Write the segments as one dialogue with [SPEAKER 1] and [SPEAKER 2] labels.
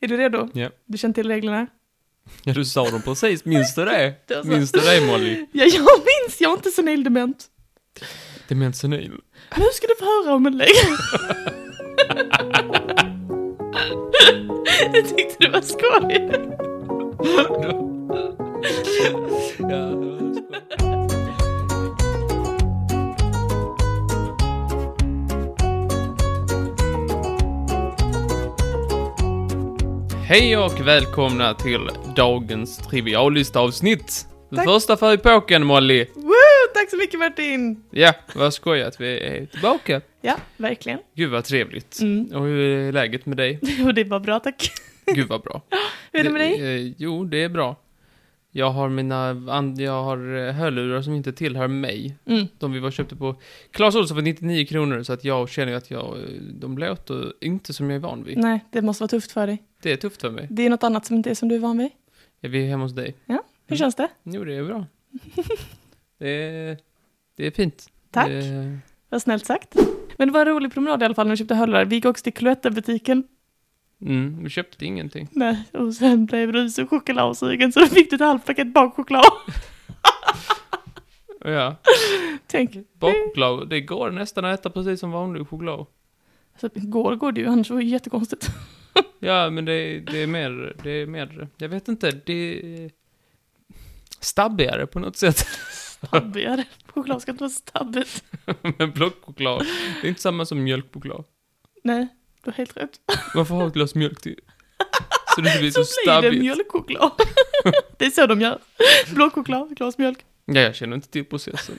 [SPEAKER 1] Är du redo?
[SPEAKER 2] Ja.
[SPEAKER 1] Du känner till reglerna?
[SPEAKER 2] Ja, du sa dem precis. Minns du det?
[SPEAKER 1] Det är så.
[SPEAKER 2] Minns du det, Molly?
[SPEAKER 1] Ja, jag minns! Jag är inte senil dement.
[SPEAKER 2] Dement senil.
[SPEAKER 1] Nu ska du få höra om en lek. jag tyckte det var skoj.
[SPEAKER 2] Ja. Hej och välkomna till dagens triviallista-avsnitt. Det
[SPEAKER 1] Tack.
[SPEAKER 2] första för epoken, Molly.
[SPEAKER 1] Woo! Tack så mycket Martin!
[SPEAKER 2] Ja, vad skoj att vi är tillbaka.
[SPEAKER 1] Ja, verkligen.
[SPEAKER 2] Gud vad trevligt.
[SPEAKER 1] Mm.
[SPEAKER 2] Och hur är läget med dig?
[SPEAKER 1] Och det var bra tack.
[SPEAKER 2] Gud vad bra.
[SPEAKER 1] Hur är det med dig?
[SPEAKER 2] eh, jo, det är bra. Jag har mina, an- jag har eh, hörlurar som inte tillhör mig.
[SPEAKER 1] Mm.
[SPEAKER 2] De vi var köpte på Clas Ohlson för 99 kronor, så att jag känner att jag, eh, de låter inte som jag är van vid.
[SPEAKER 1] Nej, det måste vara tufft för dig.
[SPEAKER 2] Det är tufft för mig.
[SPEAKER 1] Det är något annat som inte är som du är van vid.
[SPEAKER 2] Är vi hemma hos dig?
[SPEAKER 1] Hur
[SPEAKER 2] Mm.
[SPEAKER 1] känns det?
[SPEAKER 2] Jo, det är bra. det, är, det är fint.
[SPEAKER 1] Tack.
[SPEAKER 2] Det är-
[SPEAKER 1] Vad snällt sagt. Men det var en rolig promenad i alla fall när vi köpte hörlurar. Vi gick också till Cloetta-butiken.
[SPEAKER 2] Mm, vi köpte ingenting.
[SPEAKER 1] Nej, och sen blev Rus och chokladsugen så då fick du ett halvt paket bakchoklad.
[SPEAKER 2] Ja,
[SPEAKER 1] Tänk,
[SPEAKER 2] bakchoklad. Det går nästan att äta precis som vanlig choklad.
[SPEAKER 1] alltså, går går det ju, annars var det jättekonstigt.
[SPEAKER 2] Ja, men det, det är mer, det är mer, jag vet inte, det är stabbigare på något sätt.
[SPEAKER 1] Stabbigare. Choklad ska inte vara stabbigt.
[SPEAKER 2] Men blockchoklad, det är inte samma som mjölkchoklad.
[SPEAKER 1] Nej, du har helt rätt.
[SPEAKER 2] Varför ha ett glas mjölk till? Så det inte blir
[SPEAKER 1] Så
[SPEAKER 2] så,
[SPEAKER 1] blir det
[SPEAKER 2] stabbigt.
[SPEAKER 1] mjölkchoklad. det är så de gör. Blåchoklad, glas mjölk.
[SPEAKER 2] ja, jag känner inte till processen.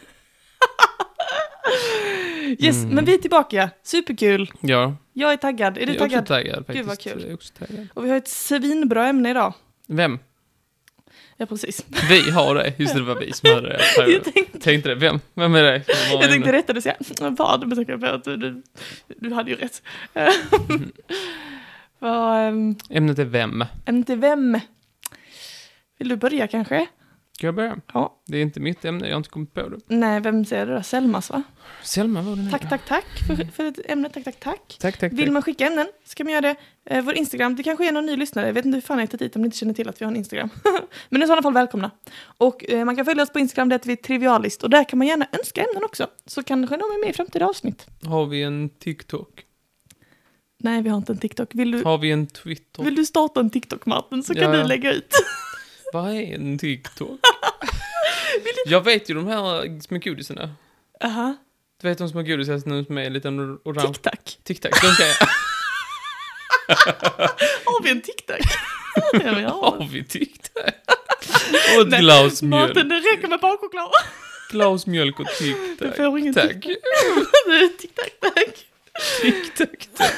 [SPEAKER 1] Yes,
[SPEAKER 2] Mm.
[SPEAKER 1] men vi är tillbaka. Superkul.
[SPEAKER 2] Ja,
[SPEAKER 1] Jag är taggad. Är du
[SPEAKER 2] jag är också
[SPEAKER 1] taggad?
[SPEAKER 2] taggad faktiskt.
[SPEAKER 1] Gud, vad kul.
[SPEAKER 2] Jag är också taggad.
[SPEAKER 1] Och vi har ett svinbra ämne idag.
[SPEAKER 2] Vem?
[SPEAKER 1] Ja, precis.
[SPEAKER 2] Vi har det. Just det, det var vi som hade det. Jag
[SPEAKER 1] Jag tänkte,
[SPEAKER 2] tänkte det. Vem? Vem är det? Vad
[SPEAKER 1] jag
[SPEAKER 2] är
[SPEAKER 1] tänkte
[SPEAKER 2] det?
[SPEAKER 1] rätta dig och säga vad, men så kom jag på att du, du, du hade ju rätt.
[SPEAKER 2] Mm.
[SPEAKER 1] Vad, um,
[SPEAKER 2] Ämnet är vem.
[SPEAKER 1] inte vem? Vill du börja kanske?
[SPEAKER 2] Ska jag börja?
[SPEAKER 1] Ja.
[SPEAKER 2] Det är inte mitt ämne, jag har inte kommit på det.
[SPEAKER 1] Nej, vem säger du då? Selmas va?
[SPEAKER 2] Selma var det nu.
[SPEAKER 1] Tack, tack, tack för, för ett ämne. Tack, tack, tack.
[SPEAKER 2] Tack, tack,
[SPEAKER 1] Vill
[SPEAKER 2] tack.
[SPEAKER 1] man skicka ämnen så kan man göra det. Eh, vår Instagram, det kanske är någon ny lyssnare. Jag vet inte hur fan jag hittat dit om ni inte känner till att vi har en Instagram. Men i sådana fall välkomna. Och eh, man kan följa oss på Instagram, det heter vi Trivialist. Och där kan man gärna önska ämnen också. Så kanske någon är med i framtida avsnitt.
[SPEAKER 2] Har vi en TikTok?
[SPEAKER 1] Nej, vi har inte en TikTok. Vill du,
[SPEAKER 2] Har vi en Twitter?
[SPEAKER 1] vill du starta en TikTok, Martin, så kan
[SPEAKER 2] Ja, ja.
[SPEAKER 1] du lägga ut.
[SPEAKER 2] Vad är en TikTok? jag vet ju de här små godisarna.
[SPEAKER 1] Aha,
[SPEAKER 2] Du vet de små godisarna nu som är en liten orange...
[SPEAKER 1] TikTok.
[SPEAKER 2] Tic-tac. De kan jag...
[SPEAKER 1] Har vi en TikTok? ja, men jag har
[SPEAKER 2] Har
[SPEAKER 1] den.
[SPEAKER 2] vi tic-tac? Och ett
[SPEAKER 1] Nej,
[SPEAKER 2] glas
[SPEAKER 1] Martin,
[SPEAKER 2] mjölk.
[SPEAKER 1] det räcker med bakchoklad.
[SPEAKER 2] Glas mjölk och
[SPEAKER 1] Du
[SPEAKER 2] tic-tac.
[SPEAKER 1] får ingen
[SPEAKER 2] Tack.
[SPEAKER 1] TikTok, tack.
[SPEAKER 2] Tic-tac, tack.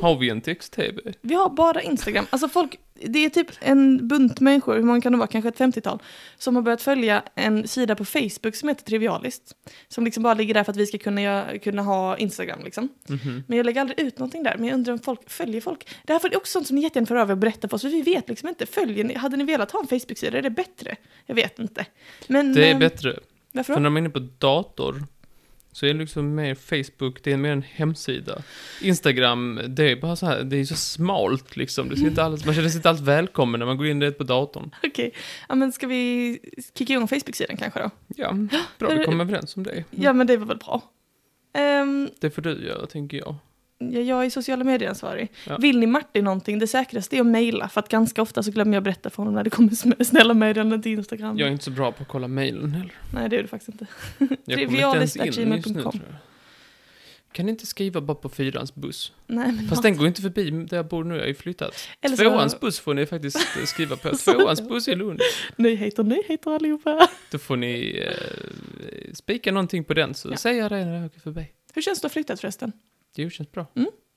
[SPEAKER 2] Har vi en text-tv?
[SPEAKER 1] Vi har bara Instagram. Alltså folk, det är typ en bunt människor, hur många kan det vara, kanske ett 50-tal, som har börjat följa en sida på Facebook som heter Trivialist. Som liksom bara ligger där för att vi ska kunna, göra- kunna ha Instagram liksom.
[SPEAKER 2] Mhm.
[SPEAKER 1] Men jag lägger aldrig ut någonting där, men jag undrar om folk följer folk. Det här är också sånt som ni jättegärna får över och berätta för oss, för vi vet liksom inte. Följer ni, hade ni velat ha en Facebook-sida, är det bättre? Jag vet inte. Men,
[SPEAKER 2] Det är
[SPEAKER 1] eh,
[SPEAKER 2] bättre.
[SPEAKER 1] Varför
[SPEAKER 2] För
[SPEAKER 1] då?
[SPEAKER 2] när man är inne på dator så är det liksom mer Facebook, det är mer en hemsida. Instagram, det är bara så här, det är så smalt liksom. Det är inte alls, man känner sig inte alls välkommen när man går in direkt på datorn.
[SPEAKER 1] Okej, ja, men ska vi kicka igång Facebook-sidan kanske då?
[SPEAKER 2] Ja, bra, vi kom överens om det.
[SPEAKER 1] Ja, men det var väl bra. Ehm,
[SPEAKER 2] Det får du göra, tänker jag.
[SPEAKER 1] Ja, jag är sociala medieransvarig.
[SPEAKER 2] Ja.
[SPEAKER 1] Vill ni Martin någonting, det säkraste är att mejla. För att ganska ofta så glömmer jag berätta för honom när det kommer sm- snälla meddelanden till Instagram.
[SPEAKER 2] Jag är inte så bra på att kolla mejlen heller.
[SPEAKER 1] Nej, det är du faktiskt inte.
[SPEAKER 2] Jag kommer inte ens in just nu,
[SPEAKER 1] Trivialist@gmail.com.
[SPEAKER 2] tror jag. Kan ni inte skriva bara på fyrans buss?
[SPEAKER 1] Nej, men
[SPEAKER 2] Fast den går inte förbi där jag bor nu, jag har ju flyttat.
[SPEAKER 1] Eller så-
[SPEAKER 2] Tvåans buss får ni faktiskt eh, skriva på.
[SPEAKER 1] Så-
[SPEAKER 2] Tvåans buss i Lund.
[SPEAKER 1] nyheter, nyheter allihopa.
[SPEAKER 2] Då får ni eh, spika någonting på den, så
[SPEAKER 1] Ja.
[SPEAKER 2] säger jag det när jag åker förbi.
[SPEAKER 1] Hur känns det att ha flyttat förresten?
[SPEAKER 2] Jo, känns bra.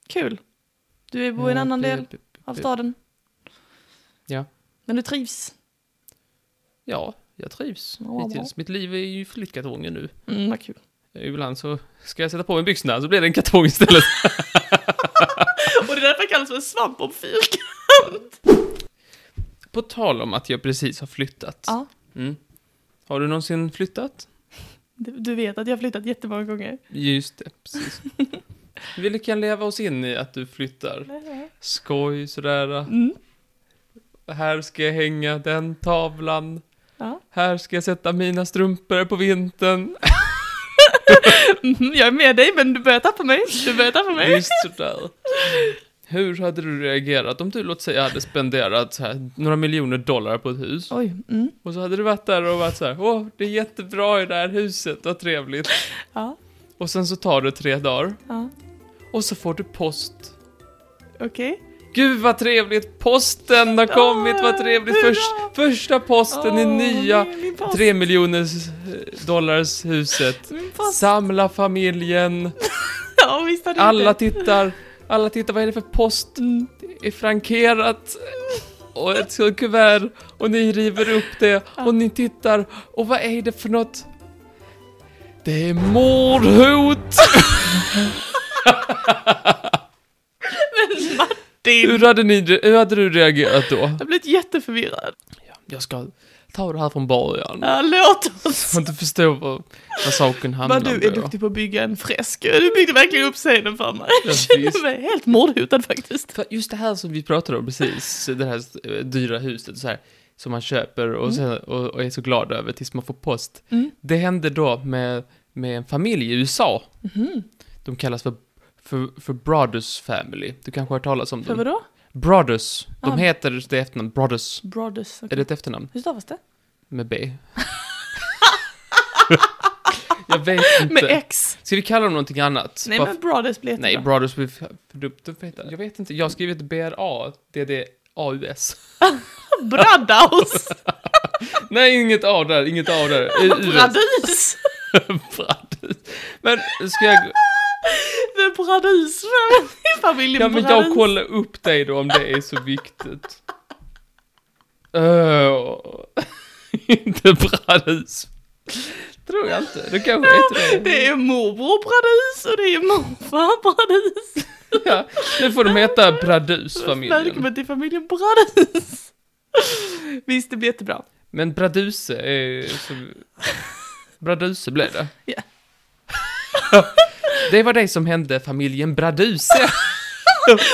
[SPEAKER 1] Kul. Du bor i en
[SPEAKER 2] Ja,
[SPEAKER 1] annan
[SPEAKER 2] det-
[SPEAKER 1] del av staden.
[SPEAKER 2] Ja.
[SPEAKER 1] Men du trivs?
[SPEAKER 2] Ja, jag trivs
[SPEAKER 1] Ja, vad
[SPEAKER 2] hittills. Mitt liv är ju flyttkartonger nu.
[SPEAKER 1] Mm, vad kul.
[SPEAKER 2] Ibland så ska jag sätta på mig byxorna, så blir det en kartong istället.
[SPEAKER 1] Och det är därför jag kallas för en svamp om fyrkant.
[SPEAKER 2] på tal om att jag precis har flyttat.
[SPEAKER 1] Ja,
[SPEAKER 2] Mm. Har du någonsin flyttat?
[SPEAKER 1] du, du vet att jag har flyttat jättemånga gånger.
[SPEAKER 2] Just det, precis. Vi kan leva oss in i att du flyttar. Skoj sådär.
[SPEAKER 1] Mm.
[SPEAKER 2] Här ska jag hänga den tavlan.
[SPEAKER 1] Ja.
[SPEAKER 2] Här ska jag sätta mina strumpor på vintern.
[SPEAKER 1] Mhm, Jag är med dig men du börjar tappa mig. Du börjar tappa mig.
[SPEAKER 2] Just sådär. Hur hade du reagerat om du, låt säga, hade spenderat så här, några miljoner dollar på ett hus?
[SPEAKER 1] Oj. Mm.
[SPEAKER 2] Och så hade du varit där och varit så här, åh, det är jättebra i det här huset, vad trevligt.
[SPEAKER 1] Ja.
[SPEAKER 2] Och sen så tar det tre dagar.
[SPEAKER 1] ja.
[SPEAKER 2] Och så får du post.
[SPEAKER 1] Okej.
[SPEAKER 2] Gud vad trevligt, posten har kommit, vad trevligt. Först, första posten i
[SPEAKER 1] Åh,
[SPEAKER 2] nya
[SPEAKER 1] min- min post.
[SPEAKER 2] tre miljoners eh, dollars huset.
[SPEAKER 1] Min post.
[SPEAKER 2] Samla familjen,
[SPEAKER 1] Ja, visst har du
[SPEAKER 2] alla
[SPEAKER 1] det.
[SPEAKER 2] tittar, alla tittar, vad är det för post?
[SPEAKER 1] Mm.
[SPEAKER 2] Det är frankerat. Och ett sånt kuvert, och ni river upp det, och ni tittar, och vad är det för något? Det är mordhot!
[SPEAKER 1] Din.
[SPEAKER 2] Hur hade, ni, hur hade du reagerat då?
[SPEAKER 1] Jag har blivit jätteförvirrad.
[SPEAKER 2] Jag ska ta det här från början.
[SPEAKER 1] Ja, låt oss.
[SPEAKER 2] Så att du förstår var, var saken hamnar.
[SPEAKER 1] Vad du är duktig på att bygga en fresk. Du byggde verkligen upp scenen för mig.
[SPEAKER 2] Ja,
[SPEAKER 1] Jag känner
[SPEAKER 2] visst.
[SPEAKER 1] mig helt mordhotad faktiskt.
[SPEAKER 2] För just det här som vi pratade om precis, det här eh, dyra huset så här, som man köper och, sen, och, och är så glad över tills man får post.
[SPEAKER 1] Mm.
[SPEAKER 2] Det hände då med, med en familj i USA.
[SPEAKER 1] Mhm.
[SPEAKER 2] De kallas för, för, för Brothers Family. Du kanske har hört talas om
[SPEAKER 1] För
[SPEAKER 2] dem?
[SPEAKER 1] vadå?
[SPEAKER 2] Brothers. De
[SPEAKER 1] Ah.
[SPEAKER 2] heter det efternamn, Brothers.
[SPEAKER 1] Brothers. okej.
[SPEAKER 2] Är det ett efternamn?
[SPEAKER 1] Hur stavas det?
[SPEAKER 2] Med B. Jag vet inte.
[SPEAKER 1] Med X.
[SPEAKER 2] Ska vi kalla dem någonting annat?
[SPEAKER 1] Nej
[SPEAKER 2] Bara
[SPEAKER 1] men Brothers blir jättebra.
[SPEAKER 2] Nej, Brothers with produkter Jag vet inte, jag har skrivit BRA, DDAUS.
[SPEAKER 1] Bradaus!
[SPEAKER 2] Nej, inget A där, inget A där. US.
[SPEAKER 1] Bradis!
[SPEAKER 2] Brothers. Men ska jag...
[SPEAKER 1] Det är Bradis! I familjen
[SPEAKER 2] Ja, men jag
[SPEAKER 1] Bradis.
[SPEAKER 2] kollar upp dig då om det är så viktigt. Öh, inte Brothers. Tror jag inte. Du kanske heter det.
[SPEAKER 1] Det är morbror Bradis och det är morfar Bradis.
[SPEAKER 2] Ja, nu får de heta Bradus-familjen.
[SPEAKER 1] Välkommen till familjen Bradis! Visst, det blir jättebra.
[SPEAKER 2] Men Braduse är... Så... Braduse blev det.
[SPEAKER 1] Ja.
[SPEAKER 2] det var det som hände familjen Braduse.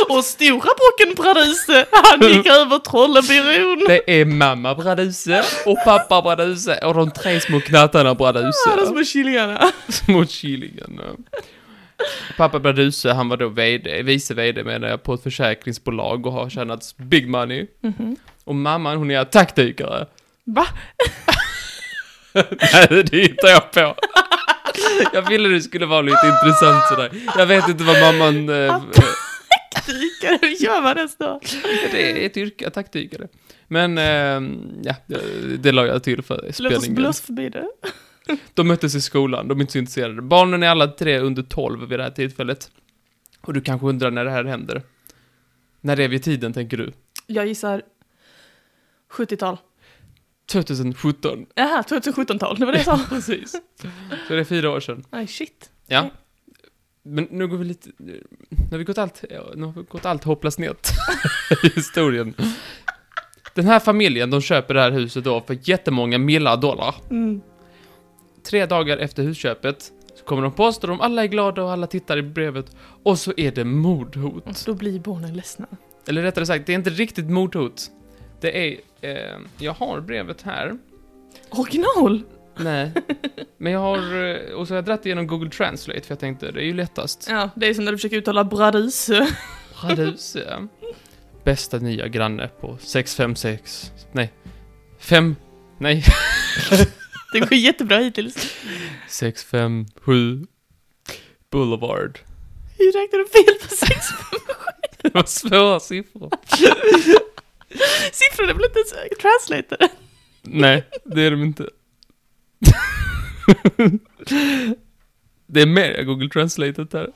[SPEAKER 1] Och stora brocken Bradise, han gick över Trollebybron.
[SPEAKER 2] Det är mamma Braduse och pappa Braduse och de tre små knattarna
[SPEAKER 1] Alla
[SPEAKER 2] Braduse.
[SPEAKER 1] små kylingarna.
[SPEAKER 2] Små kyllingen. Pappa Braduse, han var då VD, vice VD menar jag, på ett försäkringsbolag och har tjänat big money. Och mamman, hon är attackdykare.
[SPEAKER 1] Va?
[SPEAKER 2] Nej, det hittar jag på. Jag ville det skulle vara lite intressant sådär. Jag vet inte vad mamman... Eh,
[SPEAKER 1] Dykare, hur gör man ens då?
[SPEAKER 2] det är ett yrke, attackdykare. Men, eh, ja, det, det la jag till för
[SPEAKER 1] Låt oss
[SPEAKER 2] spänningen.
[SPEAKER 1] blåsa förbi det.
[SPEAKER 2] De möttes i skolan, de är inte så intresserade. Barnen är alla tre under 12 vid det här tillfället. Och du kanske undrar när det här händer. När det är vid tiden, tänker du?
[SPEAKER 1] Jag gissar 70-tal.
[SPEAKER 2] 2017.
[SPEAKER 1] Jaha, 2017-tal, det var det jag sa.
[SPEAKER 2] Precis. Så det är fyra år sedan.
[SPEAKER 1] Aj, shit.
[SPEAKER 2] Ja. Men nu går vi lite... Nu har vi gått allt, ja, nu har vi gått allt hopplöst snett i historien. Den här familjen, de köper det här huset då för jättemånga millar dollar.
[SPEAKER 1] Mm.
[SPEAKER 2] Tre dagar efter husköpet så kommer de post och de alla är glada och alla tittar i brevet. Och så är det mordhot.
[SPEAKER 1] Då blir barnen ledsna.
[SPEAKER 2] Eller rättare sagt, det är inte riktigt mordhot. Det är... Eh, jag har brevet här.
[SPEAKER 1] Original!
[SPEAKER 2] Nej. Men jag har... eh, Och så har jag dratt igenom Google Translate för jag tänkte det är ju lättast.
[SPEAKER 1] Ja, det är som när du försöker uttala bradis.
[SPEAKER 2] Raduse. Bästa nya granne på 656. Nej. 5. Nej.
[SPEAKER 1] Det går jättebra hittills.
[SPEAKER 2] 657 Boulevard.
[SPEAKER 1] Hur räknade du fel på sex?
[SPEAKER 2] Det var svåra siffror.
[SPEAKER 1] Siffrorna blev inte ens translated.
[SPEAKER 2] Nej, det är de inte. Det är mer Google Translate här.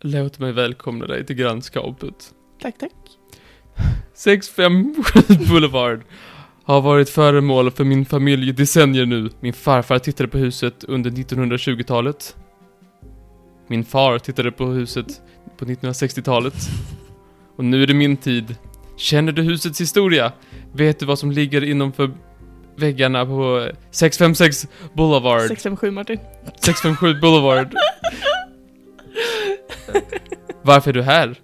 [SPEAKER 2] Låt mig välkomna dig till grannskapet.
[SPEAKER 1] Tack, tack.
[SPEAKER 2] 657 Boulevard har varit föremål för min familj i decennier nu. Min farfar tittade på huset under 1920-talet. Min far tittade på huset på 1960-talet. Och nu är det min tid. Känner du husets historia? Vet du vad som ligger inom för väggarna på eh, 656 Boulevard.
[SPEAKER 1] 657 Martin.
[SPEAKER 2] 657 Boulevard. Varför är du här?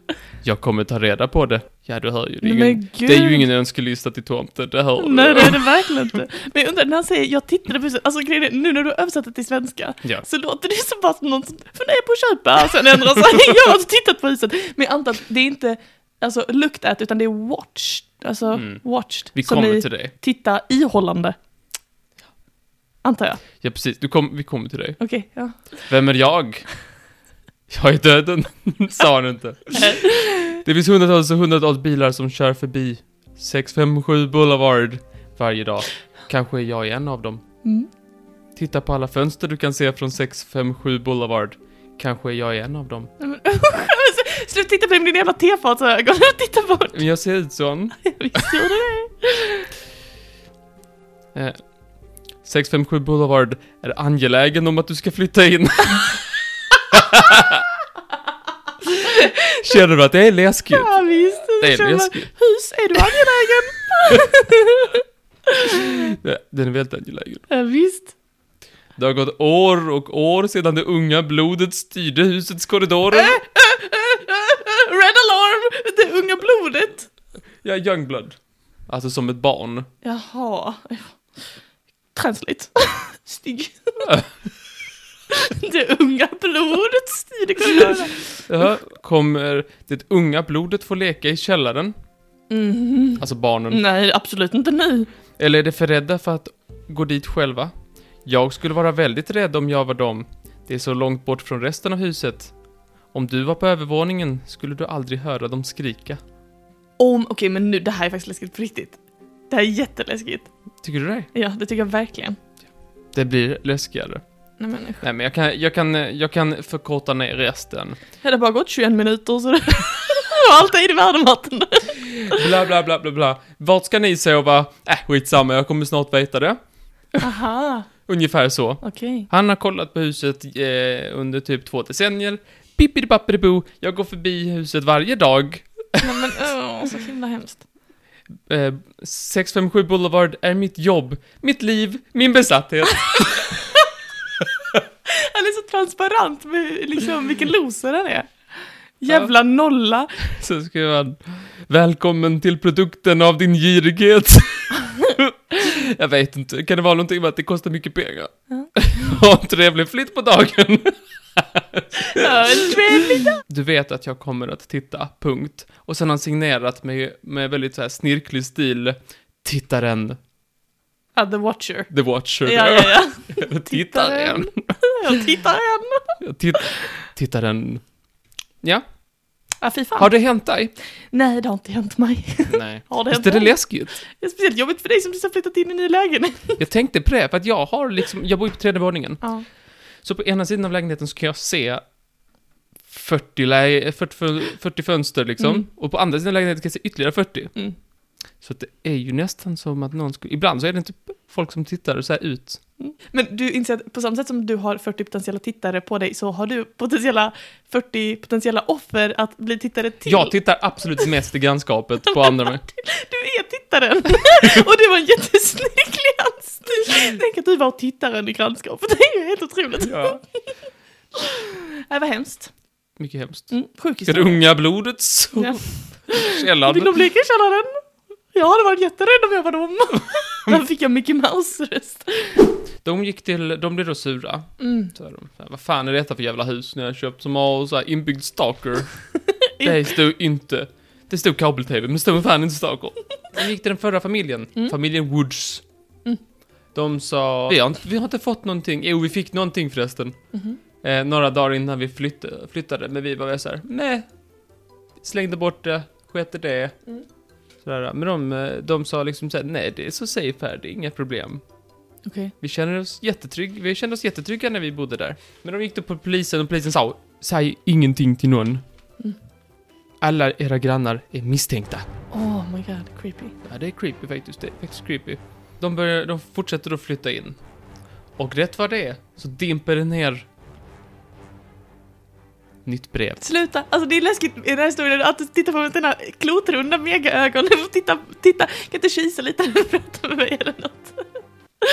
[SPEAKER 2] Jag kommer ta reda på det. Ja, du hör ju. Det är, ingen,
[SPEAKER 1] Men gud.
[SPEAKER 2] det är ju ingen önskelista till tomten, det hör du.
[SPEAKER 1] Nej det är det verkligen inte. Men jag undrar när han säger jag tittade på huset, alltså grejen är, nu när du har översatt det till svenska
[SPEAKER 2] Ja.
[SPEAKER 1] så låter det som bara som någon som funderar på att köpa och sen ändrar sig. Jag har inte tittat på huset. Men jag antar att det är inte alltså, looked at utan det är watched. Alltså
[SPEAKER 2] Mm.
[SPEAKER 1] watched.
[SPEAKER 2] Vi
[SPEAKER 1] som
[SPEAKER 2] kommer
[SPEAKER 1] i
[SPEAKER 2] till dig.
[SPEAKER 1] titta ihållande. Antar jag.
[SPEAKER 2] Ja, precis. Du kom, vi kommer till dig.
[SPEAKER 1] Okej, ja.
[SPEAKER 2] Vem är jag? Jag är döden, sa han inte. Det finns hundratals och hundratals bilar som kör förbi 657 Boulevard varje dag. Kanske är jag en av dem.
[SPEAKER 1] Mm.
[SPEAKER 2] Titta på alla fönster du kan se från 657 Boulevard. Kanske är jag en av dem.
[SPEAKER 1] Nej, men- Sluta titta på det med dina jävla tefatsögon. titta bort.
[SPEAKER 2] Men jag ser ut sån.
[SPEAKER 1] Visst gjorde du det?
[SPEAKER 2] Eh, 657 Boulevard är angelägen om att du ska flytta in. Känner du att det är läskigt?
[SPEAKER 1] Ja visst.
[SPEAKER 2] Det är
[SPEAKER 1] Så kör man,
[SPEAKER 2] läskigt.
[SPEAKER 1] Hus, är du angelägen?
[SPEAKER 2] Ja, Den är väldigt angelägen.
[SPEAKER 1] ja, visst.
[SPEAKER 2] Det har gått år och år sedan det unga blodet styrde husets korridorer.
[SPEAKER 1] Red alarm! Det unga blodet.
[SPEAKER 2] Ja, Youngblood. Alltså som ett barn.
[SPEAKER 1] Jaha. Translate. Stygg. Det unga blodet styr det korridoren.
[SPEAKER 2] Jaha, kommer det unga blodet få leka i källaren?
[SPEAKER 1] Mhm.
[SPEAKER 2] Alltså barnen.
[SPEAKER 1] Nej, absolut inte nu.
[SPEAKER 2] Eller är de för rädda för att gå dit själva? Jag skulle vara väldigt rädd om jag var dem. Det är så långt bort från resten av huset. Om du var på övervåningen skulle du aldrig höra dem skrika.
[SPEAKER 1] Om, okej men nu, det här är faktiskt läskigt på riktigt. Det här är jätteläskigt.
[SPEAKER 2] Tycker du det?
[SPEAKER 1] Ja, det tycker jag verkligen.
[SPEAKER 2] Det blir läskigare.
[SPEAKER 1] Nej men usch.
[SPEAKER 2] Nej, men jag kan, jag kan, jag kan förkorta ner resten.
[SPEAKER 1] Det hade bara gått 21 minuter så det... Allt är i världen Martin.
[SPEAKER 2] Bla, bla, bla, bla, bla. Vart ska ni sova? Äh, skitsamma, jag kommer snart veta det.
[SPEAKER 1] Aha,
[SPEAKER 2] Ungefär så.
[SPEAKER 1] okej.
[SPEAKER 2] Han har kollat på huset eh, under typ två decennier. Pippidi-pappidi-bo, jag går förbi huset varje dag.
[SPEAKER 1] Nej men åh, så himla hemskt.
[SPEAKER 2] Eh, 657 Boulevard är mitt jobb, mitt liv, min besatthet.
[SPEAKER 1] Han är så transparent med hur- liksom vilken loser han är. Jävla nolla.
[SPEAKER 2] Så skriver han, välkommen till produkten av din girighet. Jag vet inte, kan det vara någonting med att det kostar mycket pengar?
[SPEAKER 1] Ja.
[SPEAKER 2] Ha en trevlig flytt på dagen.
[SPEAKER 1] Ja, en trevlig dag.
[SPEAKER 2] Du vet att jag kommer att titta, punkt. Och sen har han signerat med, med väldigt så här snirklig stil. Tittaren,
[SPEAKER 1] Ja, The Watcher.
[SPEAKER 2] The Watcher.
[SPEAKER 1] Ja, ja, ja.
[SPEAKER 2] Tittaren.
[SPEAKER 1] Jag tittar igen.
[SPEAKER 2] Titt, tittaren. Ja,
[SPEAKER 1] Ja, fy fan.
[SPEAKER 2] har det hänt dig?
[SPEAKER 1] Nej, det har inte hänt mig.
[SPEAKER 2] Nej.
[SPEAKER 1] Har det hänt
[SPEAKER 2] Visst är Alltså, det
[SPEAKER 1] dig?
[SPEAKER 2] läskigt?
[SPEAKER 1] Det är speciellt jobbigt för dig som precis har flyttat in i en ny lägenhet.
[SPEAKER 2] Jag tänkte på det, för att jag har liksom, jag bor ju på tredje våningen.
[SPEAKER 1] Ja.
[SPEAKER 2] Så på ena sidan av lägenheten så kan jag se 40, lä- 40, 40 fönster liksom.
[SPEAKER 1] Mm.
[SPEAKER 2] Och på andra sidan av lägenheten kan jag se ytterligare 40.
[SPEAKER 1] Mm.
[SPEAKER 2] Så att det är ju nästan som att någon skulle, ibland så är det typ folk som tittar så här ut.
[SPEAKER 1] Mm. Men du inser att på samma sätt som du har 40 potentiella tittare på dig så har du potentiella 40 potentiella offer att bli tittare till.
[SPEAKER 2] Jag tittar absolut mest i grannskapet på andra.
[SPEAKER 1] Du är tittaren! och det var en jättesnygg glansstil! Tänk att du var tittaren i grannskapet, det är ju helt otroligt.
[SPEAKER 2] Ja.
[SPEAKER 1] Nej, vad hemskt.
[SPEAKER 2] Mycket hemskt.
[SPEAKER 1] Mm, sjuk
[SPEAKER 2] Ska det
[SPEAKER 1] historia.
[SPEAKER 2] unga blodet så
[SPEAKER 1] Ja. Vill de
[SPEAKER 2] källaren?
[SPEAKER 1] leka i källaren? Jag hade varit jätterädd om jag var dem. Där fick jag Mickey Mouse-röst.
[SPEAKER 2] De gick till, de blev då sura.
[SPEAKER 1] Mm.
[SPEAKER 2] Så här, de, så här, vad fan är detta för jävla hus när jag köpt som har så här inbyggd stalker? det stod inte. Det stod kabel-tv, men det stod fan inte stalker. De gick till den förra familjen, familjen Woods.
[SPEAKER 1] Mm.
[SPEAKER 2] De sa, vi har, inte, vi har inte fått någonting. Jo, vi fick någonting förresten.
[SPEAKER 1] Mhm.
[SPEAKER 2] Eh, några dagar innan vi flyttade, flyttade men vi var så här, nej. Slängde bort det, sket i det.
[SPEAKER 1] Mm.
[SPEAKER 2] Sådär, men de, eh, de sa liksom såhär, nej det är så safe här, det är inga problem.
[SPEAKER 1] Okej.
[SPEAKER 2] Vi känner oss jättetrygg, vi kände oss jättetrygga när vi bodde där. Men de gick då på polisen och polisen sa Säg ingenting till någon.
[SPEAKER 1] Mm.
[SPEAKER 2] Alla era grannar är misstänkta.
[SPEAKER 1] Oh my god, creepy.
[SPEAKER 2] Ja, det är creepy faktiskt. Det är faktiskt creepy. De, börjar, de fortsätter att flytta in. Och rätt vad det är så dimper det ner nytt brev.
[SPEAKER 1] Sluta! Alltså det är läskigt i den här historien att du tittar på mig med dina klotrunda megaögon. Du får titta, titta, kan inte kisa lite när du pratar med mig eller något?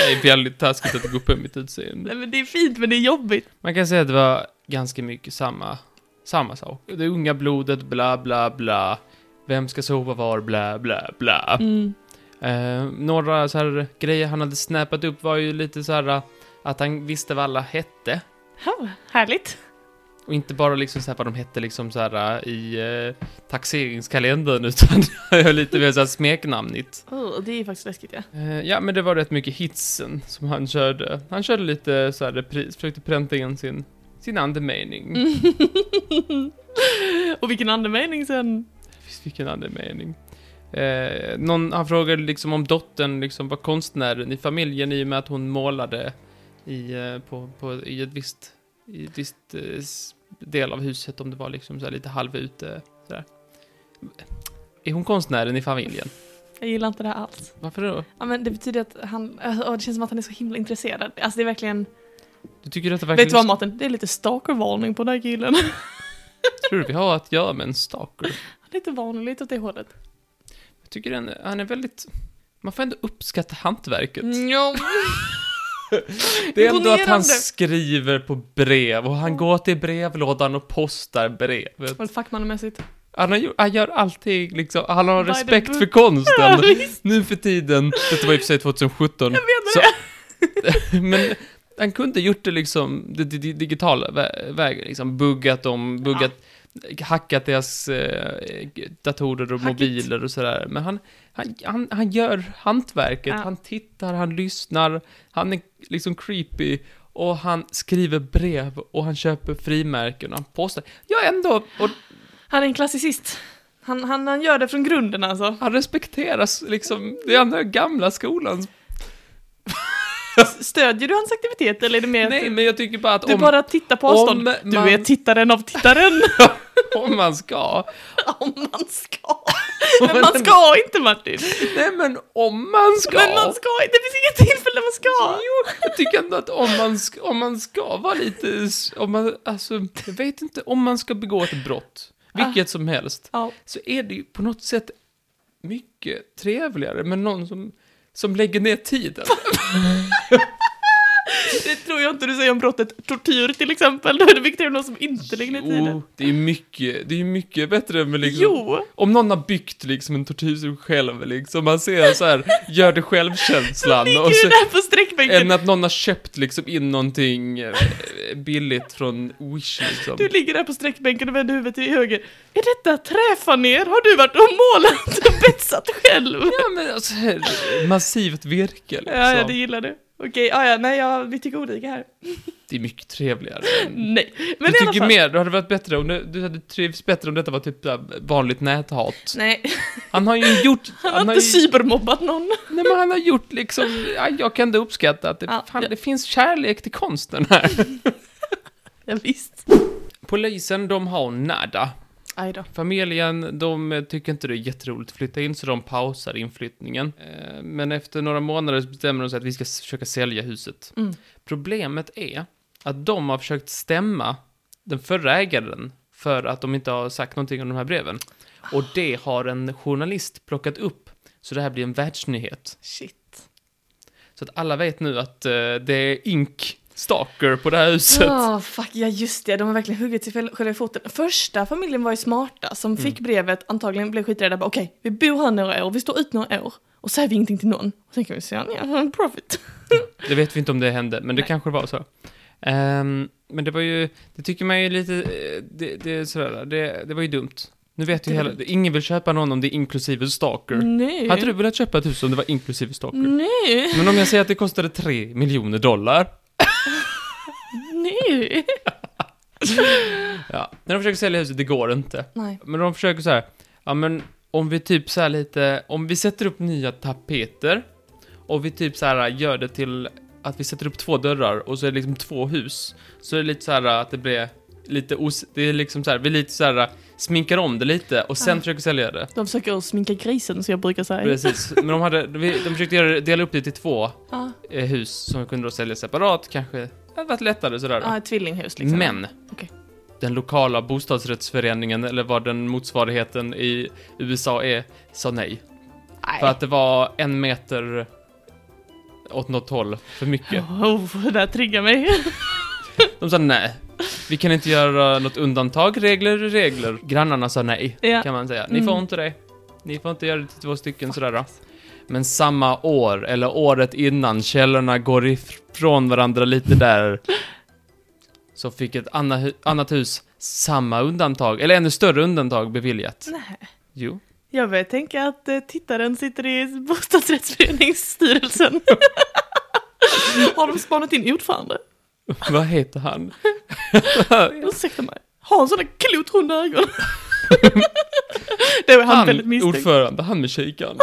[SPEAKER 2] Det är väldigt taskigt att gå upp i mitt utseende.
[SPEAKER 1] Nej, men det är fint, men det är jobbigt.
[SPEAKER 2] Man kan säga att det var ganska mycket samma, samma sak. Det unga blodet, bla bla bla. Vem ska sova var, bla bla bla.
[SPEAKER 1] Mm.
[SPEAKER 2] Eh, några så här grejer han hade snäpat upp var ju lite så här eh, att han visste vad alla hette.
[SPEAKER 1] Ja, härligt.
[SPEAKER 2] Och inte bara liksom så här vad de hette liksom så här eh, i eh, taxeringskalendern utan det var lite mer så här smeknamnigt.
[SPEAKER 1] Oh, det är faktiskt läskigt, ja.
[SPEAKER 2] Eh, ja, men det var rätt mycket hitsen som han körde. Han körde lite så här repris, försökte pränta in sin, sin andemening.
[SPEAKER 1] Mm. Och vilken andemening sen.
[SPEAKER 2] Visst, vilken andemening. Eh, någon, han frågade liksom om dottern liksom var konstnären i familjen i och med att hon målade i, eh, på, på, i ett visst, i ett visst eh, s- del av huset, om det var liksom så här lite halv ute. Sådär. Är hon konstnären i familjen?
[SPEAKER 1] Jag gillar inte det här alls.
[SPEAKER 2] Varför då?
[SPEAKER 1] Ja, men det betyder att han, oh, det känns som att han är så himla intresserad. Alltså det är verkligen,
[SPEAKER 2] Du tycker att det verkligen...
[SPEAKER 1] vet du vad Martin? Det är lite stalkervarning på den här killen.
[SPEAKER 2] Tror du vi har att göra med en stalker?
[SPEAKER 1] lite varning, lite åt det hållet.
[SPEAKER 2] Jag tycker den, han är väldigt... Man får ändå uppskatta hantverket.
[SPEAKER 1] Ja.
[SPEAKER 2] Det är ändå att han
[SPEAKER 1] Imponerande.
[SPEAKER 2] skriver på brev och han går till brevlådan och postar brevet.
[SPEAKER 1] Vad fackmannamässigt.
[SPEAKER 2] Han, har, gjort- han gör allting liksom, han har
[SPEAKER 1] By the
[SPEAKER 2] respekt
[SPEAKER 1] book.
[SPEAKER 2] för konsten. Alltså,
[SPEAKER 1] Ja, visst.
[SPEAKER 2] nu för tiden, detta var i och för sig 2017,
[SPEAKER 1] Jag menar
[SPEAKER 2] Så-
[SPEAKER 1] det.
[SPEAKER 2] men han kunde gjort det liksom, det, det, det digitala vä- vägen liksom, buggat dem, buggat, hackat deras eh, datorer och
[SPEAKER 1] Hackigt.
[SPEAKER 2] mobiler och sådär. Men han, han, han, han gör hantverket,
[SPEAKER 1] Ja.
[SPEAKER 2] han tittar, han lyssnar, han är liksom creepy. Och han skriver brev och han köper frimärken och han postar. Ja, ändå, och
[SPEAKER 1] Han är en klassicist. Han, han, han gör det från grunden alltså.
[SPEAKER 2] han respekteras liksom, det är den här gamla skolan.
[SPEAKER 1] Stödjer du hans aktivitet eller är det mer
[SPEAKER 2] Nej,
[SPEAKER 1] att
[SPEAKER 2] men jag tycker bara att
[SPEAKER 1] du
[SPEAKER 2] om,
[SPEAKER 1] bara tittar på
[SPEAKER 2] om
[SPEAKER 1] avstånd? Du
[SPEAKER 2] man-
[SPEAKER 1] är tittaren av tittaren.
[SPEAKER 2] om man ska,
[SPEAKER 1] om man ska. Men man ska inte Martin.
[SPEAKER 2] nej men om man ska.
[SPEAKER 1] Men man ska inte. Det finns inget tillfälle man ska.
[SPEAKER 2] Jo, jag tycker ändå att om man, ska, om man ska vara lite, s- om man, alltså, jag vet inte, om man ska begå ett brott,
[SPEAKER 1] Ah.
[SPEAKER 2] vilket som helst,
[SPEAKER 1] Ja.
[SPEAKER 2] så är det ju på något sätt mycket trevligare med någon som, som lägger ner tiden.
[SPEAKER 1] Det tror jag inte du säger om brottet tortyr till exempel. Då är det viktigare än någon som inte lägger ner tiden.
[SPEAKER 2] Jo, det är mycket, det är mycket bättre med liksom...
[SPEAKER 1] Jo.
[SPEAKER 2] Om någon har byggt liksom en tortyrsug själv liksom, man ser så här, gör det självkänslan
[SPEAKER 1] Ligger
[SPEAKER 2] och
[SPEAKER 1] du
[SPEAKER 2] så,
[SPEAKER 1] där på sträckbänken?
[SPEAKER 2] än att någon har köpt liksom in någonting eh, billigt från Wish liksom.
[SPEAKER 1] Du ligger där på sträckbänken och vänder huvudet till höger. Är detta träfaner? Har du varit och målat och betsat själv?
[SPEAKER 2] Ja men alltså, massivt virke liksom.
[SPEAKER 1] Ja, ja, det
[SPEAKER 2] det...
[SPEAKER 1] gillar du. Okej, ja, ja, nej, ja, vi tycker olika här.
[SPEAKER 2] är mycket trevligare. än-
[SPEAKER 1] Nej, men
[SPEAKER 2] du
[SPEAKER 1] i alla
[SPEAKER 2] tycker
[SPEAKER 1] fall.
[SPEAKER 2] mer, det hade varit bättre om du, du hade trivts bättre om detta var typ så här vanligt näthat.
[SPEAKER 1] Nej,
[SPEAKER 2] Han har ju gjort...
[SPEAKER 1] han har inte
[SPEAKER 2] har ju-
[SPEAKER 1] cybermobbat någon.
[SPEAKER 2] Nej men han har gjort liksom, ja, jag kan ändå uppskatta att det,
[SPEAKER 1] Ja.
[SPEAKER 2] fan, det finns kärlek till konsten här.
[SPEAKER 1] Ja, visst.
[SPEAKER 2] Polisen, de har nada.
[SPEAKER 1] Aj då.
[SPEAKER 2] Familjen, de eh, tycker inte det är jätteroligt att flytta in så de pausar inflyttningen. Eh, Men efter några månader så bestämmer de sig att vi ska s- försöka sälja huset.
[SPEAKER 1] Mm.
[SPEAKER 2] Problemet är att de har försökt stämma den förra ägaren för att de inte har sagt någonting om de här breven. Och det har en journalist plockat upp, så det här blir en världsnyhet.
[SPEAKER 1] Shit.
[SPEAKER 2] Så att alla vet nu att eh, det är ink stalker på det här huset.
[SPEAKER 1] Ja, fuck, ja just det, de har verkligen huggit sig fel- själva i foten. Första familjen var ju smarta som
[SPEAKER 2] Mm.
[SPEAKER 1] fick brevet, antagligen blev skiträdda, bara okej, vi bor här några år, vi står ut några år och säger vi ingenting till någon. Och sen kan vi säga, ja, en profit.
[SPEAKER 2] Det vet vi inte om det hände, men det kanske var så. Ehm, men det var ju, det tycker man ju lite, eh, det, det, är sådär, det, det var ju dumt. Nu vet ju
[SPEAKER 1] Det var
[SPEAKER 2] hela, ingen vill köpa någon om det är inklusive stalker.
[SPEAKER 1] Nej.
[SPEAKER 2] Hade du velat köpa ett hus om det var inklusive stalker?
[SPEAKER 1] Nej.
[SPEAKER 2] Men om jag säger att det kostade 3 miljoner dollar.
[SPEAKER 1] Nej.
[SPEAKER 2] Ja. När de försöker sälja huset, det går inte.
[SPEAKER 1] Nej.
[SPEAKER 2] Men de försöker så här, ja men om vi typ så här lite, om vi sätter upp nya tapeter och vi typ så här gör det till att vi sätter upp två dörrar och så är det liksom två hus. Så är det lite så här att det blir lite os... Det är liksom så här, vi lite så här sminkar om det lite och sen
[SPEAKER 1] Ja.
[SPEAKER 2] försöker sälja det.
[SPEAKER 1] De försöker sminka grisen som jag brukar säga.
[SPEAKER 2] Precis, men de hade, vi- de försökte göra, det- dela upp det till två
[SPEAKER 1] Ja,
[SPEAKER 2] eh, hus som vi kunde då sälja separat kanske. Det hade varit lättare sådär.
[SPEAKER 1] ja ett tvillinghus liksom.
[SPEAKER 2] Men
[SPEAKER 1] Okej.
[SPEAKER 2] den lokala bostadsrättsföreningen, eller vad den motsvarigheten i USA är, sa nej.
[SPEAKER 1] Nej.
[SPEAKER 2] För att det var en meter åt något håll för mycket.
[SPEAKER 1] Oh, det där triggar mig.
[SPEAKER 2] De sa nej. Vi kan inte göra något undantag, regler är regler. Grannarna sa nej,
[SPEAKER 1] Ja.
[SPEAKER 2] kan man säga. Ni får
[SPEAKER 1] Mm.
[SPEAKER 2] inte det. Ni får inte göra det till två stycken sådär. Då. Men samma år, eller året innan, källorna går ifrån varandra lite där. Så fick ett anna hu- annat hus samma undantag, eller ännu större undantag beviljat.
[SPEAKER 1] Nej.
[SPEAKER 2] Jo.
[SPEAKER 1] Jag börjar tänka att eh, tittaren sitter i bostadsrättsföreningsstyrelsen. Har de spanat in ordförande?
[SPEAKER 2] Vad heter han?
[SPEAKER 1] Ursäkta mig. Har han sådana klotrunda ögon? det var han, väldigt misstänkt.
[SPEAKER 2] ordförande, han med kikaren.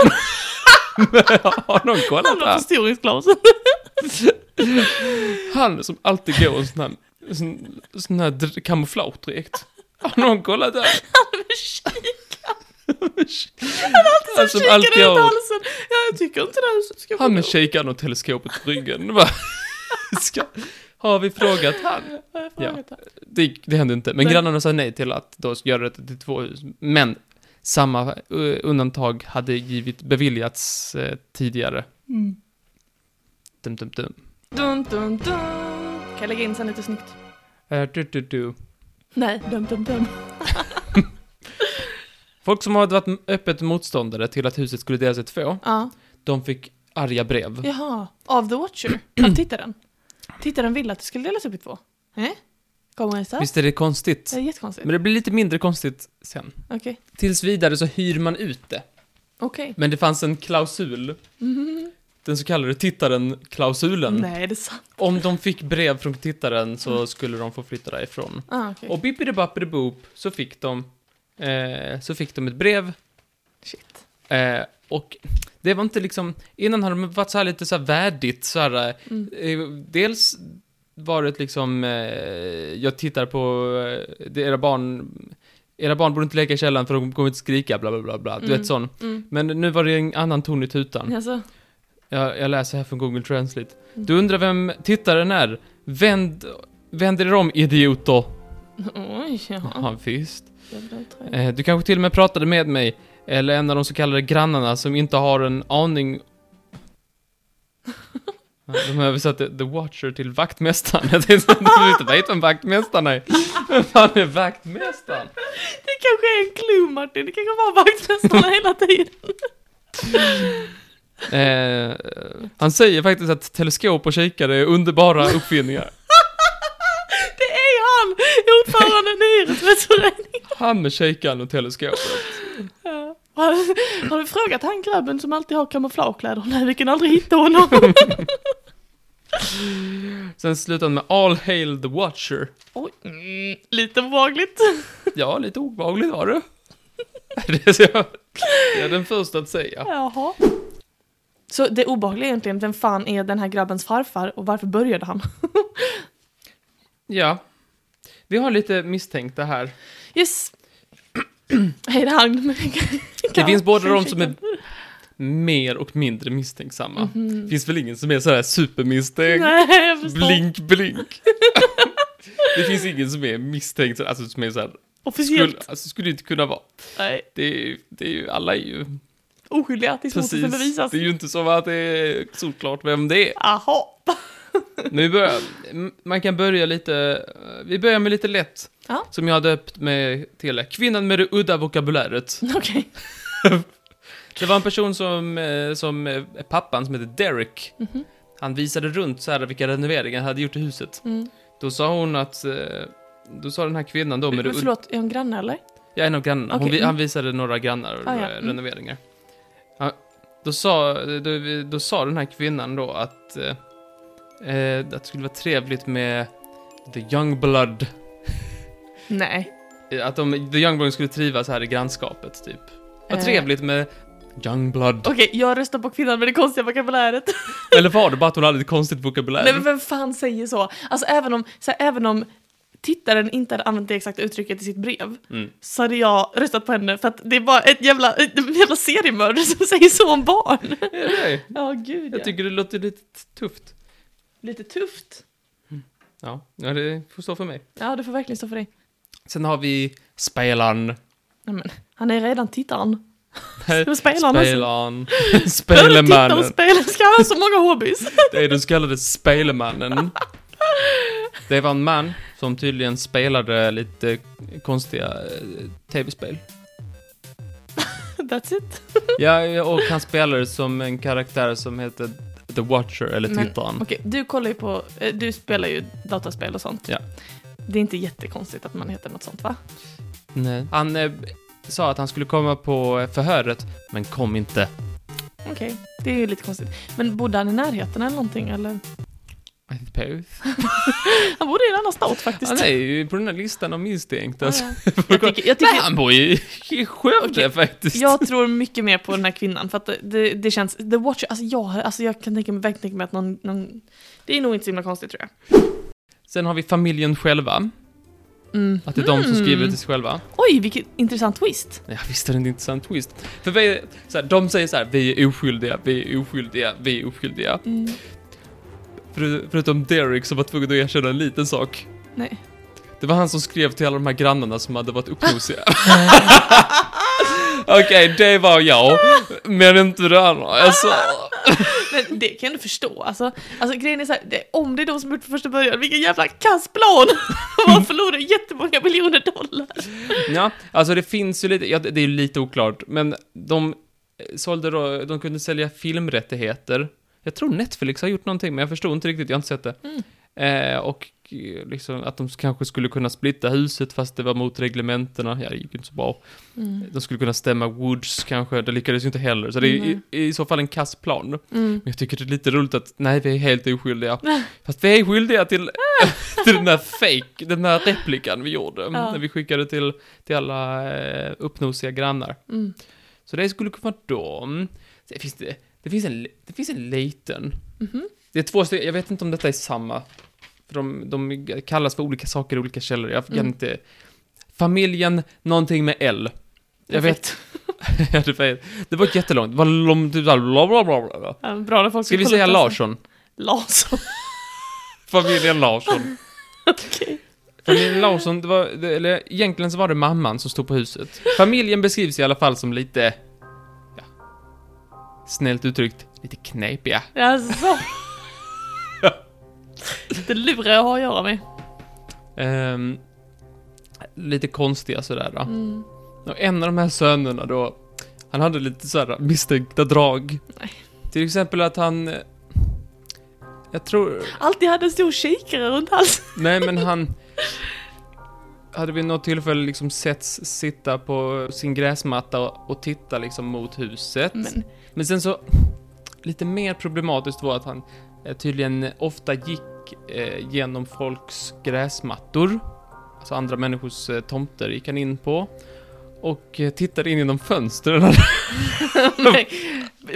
[SPEAKER 2] Har någon kollat
[SPEAKER 1] Han har
[SPEAKER 2] här?
[SPEAKER 1] förstoringsglasen.
[SPEAKER 2] Alltså, Han som alltid går i en sån här, en sån, sån här dr- kamouflagedräkt. Har någon kollat där?
[SPEAKER 1] Han med
[SPEAKER 2] Han som
[SPEAKER 1] kikaren
[SPEAKER 2] alltid
[SPEAKER 1] runt
[SPEAKER 2] har,
[SPEAKER 1] halsen. Ja, jag tycker inte det här ska
[SPEAKER 2] han
[SPEAKER 1] få
[SPEAKER 2] med
[SPEAKER 1] gå.
[SPEAKER 2] kikaren och teleskopet på ryggen. Vad Ska, har vi frågat han?
[SPEAKER 1] Jag har
[SPEAKER 2] Ja.
[SPEAKER 1] frågat det.
[SPEAKER 2] Det, det hände inte. Men
[SPEAKER 1] Nej.
[SPEAKER 2] grannarna sa nej till att då göra det till två hus. Men samma eh, undantag hade givit, beviljats eh, tidigare.
[SPEAKER 1] Mm.
[SPEAKER 2] Dum, dum, dum.
[SPEAKER 1] Dun, dun, dun. Kan jag lägga in sen lite snyggt?
[SPEAKER 2] Eh, du, du, du.
[SPEAKER 1] Nej, dum, dum, dum.
[SPEAKER 2] Folk som hade varit öppet motståndare till att huset skulle delas i två,
[SPEAKER 1] Ja.
[SPEAKER 2] de fick arga brev.
[SPEAKER 1] Jaha, av The Watcher? Av tittaren? Tittaren ville att det skulle delas upp i två? Eh? Kommer jag så?
[SPEAKER 2] Visst är det konstigt?
[SPEAKER 1] Det är jättekonstigt.
[SPEAKER 2] Men det blir lite mindre konstigt sen.
[SPEAKER 1] Okej.
[SPEAKER 2] Tills vidare så hyr man ut det.
[SPEAKER 1] Okej. Mm.
[SPEAKER 2] Men det fanns en klausul. Den så kallade tittaren-klausulen.
[SPEAKER 1] Nej, Mm. det är sant.
[SPEAKER 2] Om de fick brev från tittaren så skulle de få flytta därifrån.
[SPEAKER 1] Ah, okej.
[SPEAKER 2] Och bippidi-bappidi-boop så fick de, eh, så fick de ett brev.
[SPEAKER 1] Shit.
[SPEAKER 2] Eh, och det var inte liksom, innan hade de varit så här lite så här värdigt så här. eh,
[SPEAKER 1] Mm.
[SPEAKER 2] Eh, dels varit liksom, eh, jag tittar på eh, det, era barn, era barn borde inte leka i källaren för de kommer inte skrika, bla bla bla bla. Du
[SPEAKER 1] Mm.
[SPEAKER 2] vet sån.
[SPEAKER 1] Mm.
[SPEAKER 2] Men nu var det en annan ton i tutan.
[SPEAKER 1] Alltså,
[SPEAKER 2] Jag, jag läser här från Google Translate.
[SPEAKER 1] Mm.
[SPEAKER 2] Du undrar vem tittaren är? Vänd, vänd er om idioter.
[SPEAKER 1] oj, ja.
[SPEAKER 2] Ja, visst.
[SPEAKER 1] Jävla otroligt.
[SPEAKER 2] Eh, du kanske till och med pratade med mig, eller en av de så kallade grannarna som inte har en aning... Ja, De översatte The Watcher till vaktmästaren. Jag tänkte att du inte vet vem vaktmästaren är. Vem fan är vaktmästaren?
[SPEAKER 1] Det kanske är en clue, Martin. Det kanske var vaktmästarna hela tiden.
[SPEAKER 2] Eh, han säger faktiskt att teleskop och kikare är underbara uppfinningar.
[SPEAKER 1] Det är han! Ordföranden i hyresrättsföreningen.
[SPEAKER 2] Han med kikaren och teleskopet.
[SPEAKER 1] Ja. Har, har du frågat han grabben som alltid har kamouflagekläder? Nej, vi kan aldrig hitta honom.
[SPEAKER 2] Sen slutar han med All Hail the Watcher.
[SPEAKER 1] Oj, mm, lite obehagligt.
[SPEAKER 2] Ja, lite obehagligt var det. Det är jag- jag är den första att säga.
[SPEAKER 1] Jaha. Så det obehagliga är egentligen, vem fan är den här grabbens farfar och varför började han?
[SPEAKER 2] Ja. Vi har lite misstänkta här.
[SPEAKER 1] Yes! Hej det här.
[SPEAKER 2] Det finns både de som är mer och mindre misstänksamma. Det finns väl ingen som är sådär supermisstänkt?
[SPEAKER 1] Mhm. Nej, jag förstår.
[SPEAKER 2] blink, blink. det finns ingen som är misstänkt, alltså som är såhär,
[SPEAKER 1] Officiellt.
[SPEAKER 2] skulle, alltså, skulle inte kunna vara.
[SPEAKER 1] Nej,
[SPEAKER 2] Det är, ju- det är ju, alla är ju
[SPEAKER 1] oskyldiga tills
[SPEAKER 2] precis.
[SPEAKER 1] motsatsen bevisas.
[SPEAKER 2] Det är ju inte som att det är solklart vem det är.
[SPEAKER 1] Jaha.
[SPEAKER 2] Men vi börjar, m- man kan börja lite, eh, vi börjar med lite lätt.
[SPEAKER 1] Ja.
[SPEAKER 2] Som jag har döpt med till Kvinnan med det udda vokabuläret.
[SPEAKER 1] Okej.
[SPEAKER 2] Det var en person som, eh, som eh, pappan som hette Derek.
[SPEAKER 1] Mhm.
[SPEAKER 2] Han visade runt så här vilka renoveringar han hade gjort i huset.
[SPEAKER 1] Mm.
[SPEAKER 2] Då sa hon att, eh, då sa den här kvinnan då med
[SPEAKER 1] Men
[SPEAKER 2] det
[SPEAKER 1] förlåt, är hon granne eller?
[SPEAKER 2] Ja, en av grannarna. Hon,
[SPEAKER 1] Okej,
[SPEAKER 2] vi-
[SPEAKER 1] mm.
[SPEAKER 2] Han visade några grannar
[SPEAKER 1] Ah, ja,
[SPEAKER 2] eh,
[SPEAKER 1] mm.
[SPEAKER 2] renoveringar. Ja, då, sa, då, då sa den här kvinnan då att, eh, eh, att det skulle vara trevligt med the young blood.
[SPEAKER 1] Nej.
[SPEAKER 2] Eh, Att de, the young blood skulle trivas här i grannskapet typ. Vad
[SPEAKER 1] Eh.
[SPEAKER 2] trevligt med young blood.
[SPEAKER 1] Okej, jag röstar på kvinnan med det konstiga vokabuläret.
[SPEAKER 2] Eller var det bara att hon hade ett konstigt vokabulär?
[SPEAKER 1] Nej men vem fan säger så? Alltså även om, så här, även om tittaren inte hade använt det exakta uttrycket i sitt brev
[SPEAKER 2] Mm.
[SPEAKER 1] så hade jag röstat på henne för att det är bara ett jävla, ett jävla seriemördare som säger så om barn.
[SPEAKER 2] Är det?
[SPEAKER 1] Ja gud
[SPEAKER 2] Jag
[SPEAKER 1] ja.
[SPEAKER 2] tycker det låter lite tufft.
[SPEAKER 1] Lite tufft.
[SPEAKER 2] Ja, ja det får stå för mig.
[SPEAKER 1] Ja det får verkligen stå för dig.
[SPEAKER 2] Sen har vi spelaren.
[SPEAKER 1] Nej, men, han är redan tittaren.
[SPEAKER 2] Nej,
[SPEAKER 1] Det var Spejlan alltså.
[SPEAKER 2] Spejlan.
[SPEAKER 1] Både titta och
[SPEAKER 2] Spejlemannen.
[SPEAKER 1] spela ska ha så många hobbys.
[SPEAKER 2] Det är den så kallade Spelmannen. Det var en man som tydligen spelade lite konstiga eh, tv-spel.
[SPEAKER 1] That's it.
[SPEAKER 2] Ja, och han spelade som en karaktär som hette The Watcher, eller
[SPEAKER 1] Men-
[SPEAKER 2] Tittaren.
[SPEAKER 1] Okej, du kollar ju på, eh, du spelar ju dataspel och sånt.
[SPEAKER 2] Ja.
[SPEAKER 1] Det är inte jättekonstigt att man heter något sånt va?
[SPEAKER 2] Nej. Han eh, sa att han skulle komma på eh, förhöret, men kom inte.
[SPEAKER 1] Okej, det är ju lite konstigt. Men bodde han i närheten eller någonting eller? Han bodde i en annan stat faktiskt.
[SPEAKER 2] Han är ju på den här listan av misstänkta.
[SPEAKER 1] Ja,
[SPEAKER 2] så-
[SPEAKER 1] ja. jag, tycker, jag,
[SPEAKER 2] Nej,
[SPEAKER 1] tycker,
[SPEAKER 2] han bor ju i Skövde
[SPEAKER 1] Okej,
[SPEAKER 2] faktiskt.
[SPEAKER 1] jag tror mycket mer på den här kvinnan för att det- det, det känns, The Watcher, alltså jag, har- alltså jag kan tänka mig, verkligen tänka mig att någon, någon, det är nog inte så himla konstigt tror jag.
[SPEAKER 2] Sen har vi familjen själva.
[SPEAKER 1] Mm.
[SPEAKER 2] Att det är de som skriver
[SPEAKER 1] Mm.
[SPEAKER 2] till sig själva.
[SPEAKER 1] Oj, vilken intressant twist.
[SPEAKER 2] Ja, visst är det en intressant twist. För vi är, så här, de säger så här, vi är oskyldiga, vi är oskyldiga, vi är oskyldiga.
[SPEAKER 1] Mm.
[SPEAKER 2] För, förutom Derek som var tvungen att erkänna en liten sak.
[SPEAKER 1] Nej.
[SPEAKER 2] Det var han som skrev till alla de här grannarna som hade varit uppnosiga. Okej, det var jag. Men inte det andra. Alltså,
[SPEAKER 1] Men det kan jag ändå förstå. Alltså, alltså grejen är så här, det, om det är de som gjort från första början, vilken jävla kassplan! Man förlorar jättemånga miljoner dollar.
[SPEAKER 2] ja, alltså det finns ju lite, ja, det det är ju lite oklart, men de eh, sålde då, de kunde sälja filmrättigheter. Jag tror Netflix har gjort någonting, men jag förstod inte riktigt, jag har inte sett det.
[SPEAKER 1] Mm.
[SPEAKER 2] Eh, och eh, liksom att de kanske skulle kunna splitta huset fast det var mot reglementena. Ja, det gick ju inte så bra. De skulle kunna stämma Woods kanske, det lyckades ju inte heller. Så det är i,
[SPEAKER 1] Nej.
[SPEAKER 2] i så fall en kass plan. Men
[SPEAKER 1] Mm.
[SPEAKER 2] jag tycker det är lite roligt att, nej, vi är helt oskyldiga. Fast vi är skyldiga till, till den här fake, den här replikan vi gjorde. När vi skickade till, till alla eh, uppnosiga grannar.
[SPEAKER 1] Mm.
[SPEAKER 2] Så det skulle kunna vara dem. Det finns, det, det finns, en, det finns en liten.
[SPEAKER 1] Mhm.
[SPEAKER 2] Det är två stycken, jag vet inte om detta är samma. För de, de kallas för olika saker i olika källor, jag kan
[SPEAKER 1] Mm.
[SPEAKER 2] inte... Familjen, någonting med L. Jag vet. Ja, det var- det var jättelångt, det var långt, typ såhär, bla, bla, bla, bla, bla.
[SPEAKER 1] Ja, Bra när folk
[SPEAKER 2] Ska vi
[SPEAKER 1] kolla
[SPEAKER 2] säga
[SPEAKER 1] upp det.
[SPEAKER 2] Larsson?
[SPEAKER 1] Larsson,
[SPEAKER 2] Familjen Larsson.
[SPEAKER 1] okej.
[SPEAKER 2] Familjen Larsson, det var, det, eller egentligen så var det mamman som stod på huset. Familjen beskrivs i alla fall som lite, ja, snällt uttryckt, lite knepiga.
[SPEAKER 1] Alltså. Det lurar jag har att göra med.
[SPEAKER 2] Ehm, lite konstiga sådär då.
[SPEAKER 1] Mm.
[SPEAKER 2] Och en av de här sönerna då, han hade lite sådär misstänkta drag.
[SPEAKER 1] Nej.
[SPEAKER 2] Till exempel att han... eh, Jag tror...
[SPEAKER 1] Alltid hade en stor kikare runt halsen.
[SPEAKER 2] Nej men han... Hade vid något tillfälle liksom setts sitta på sin gräsmatta och, och titta liksom mot huset.
[SPEAKER 1] Men
[SPEAKER 2] Men sen så, lite mer problematiskt var att han eh, tydligen ofta gick eh, genom folks gräsmattor. Alltså andra människors eh, tomter gick han in på. Och eh, tittade in genom fönstren.
[SPEAKER 1] nej.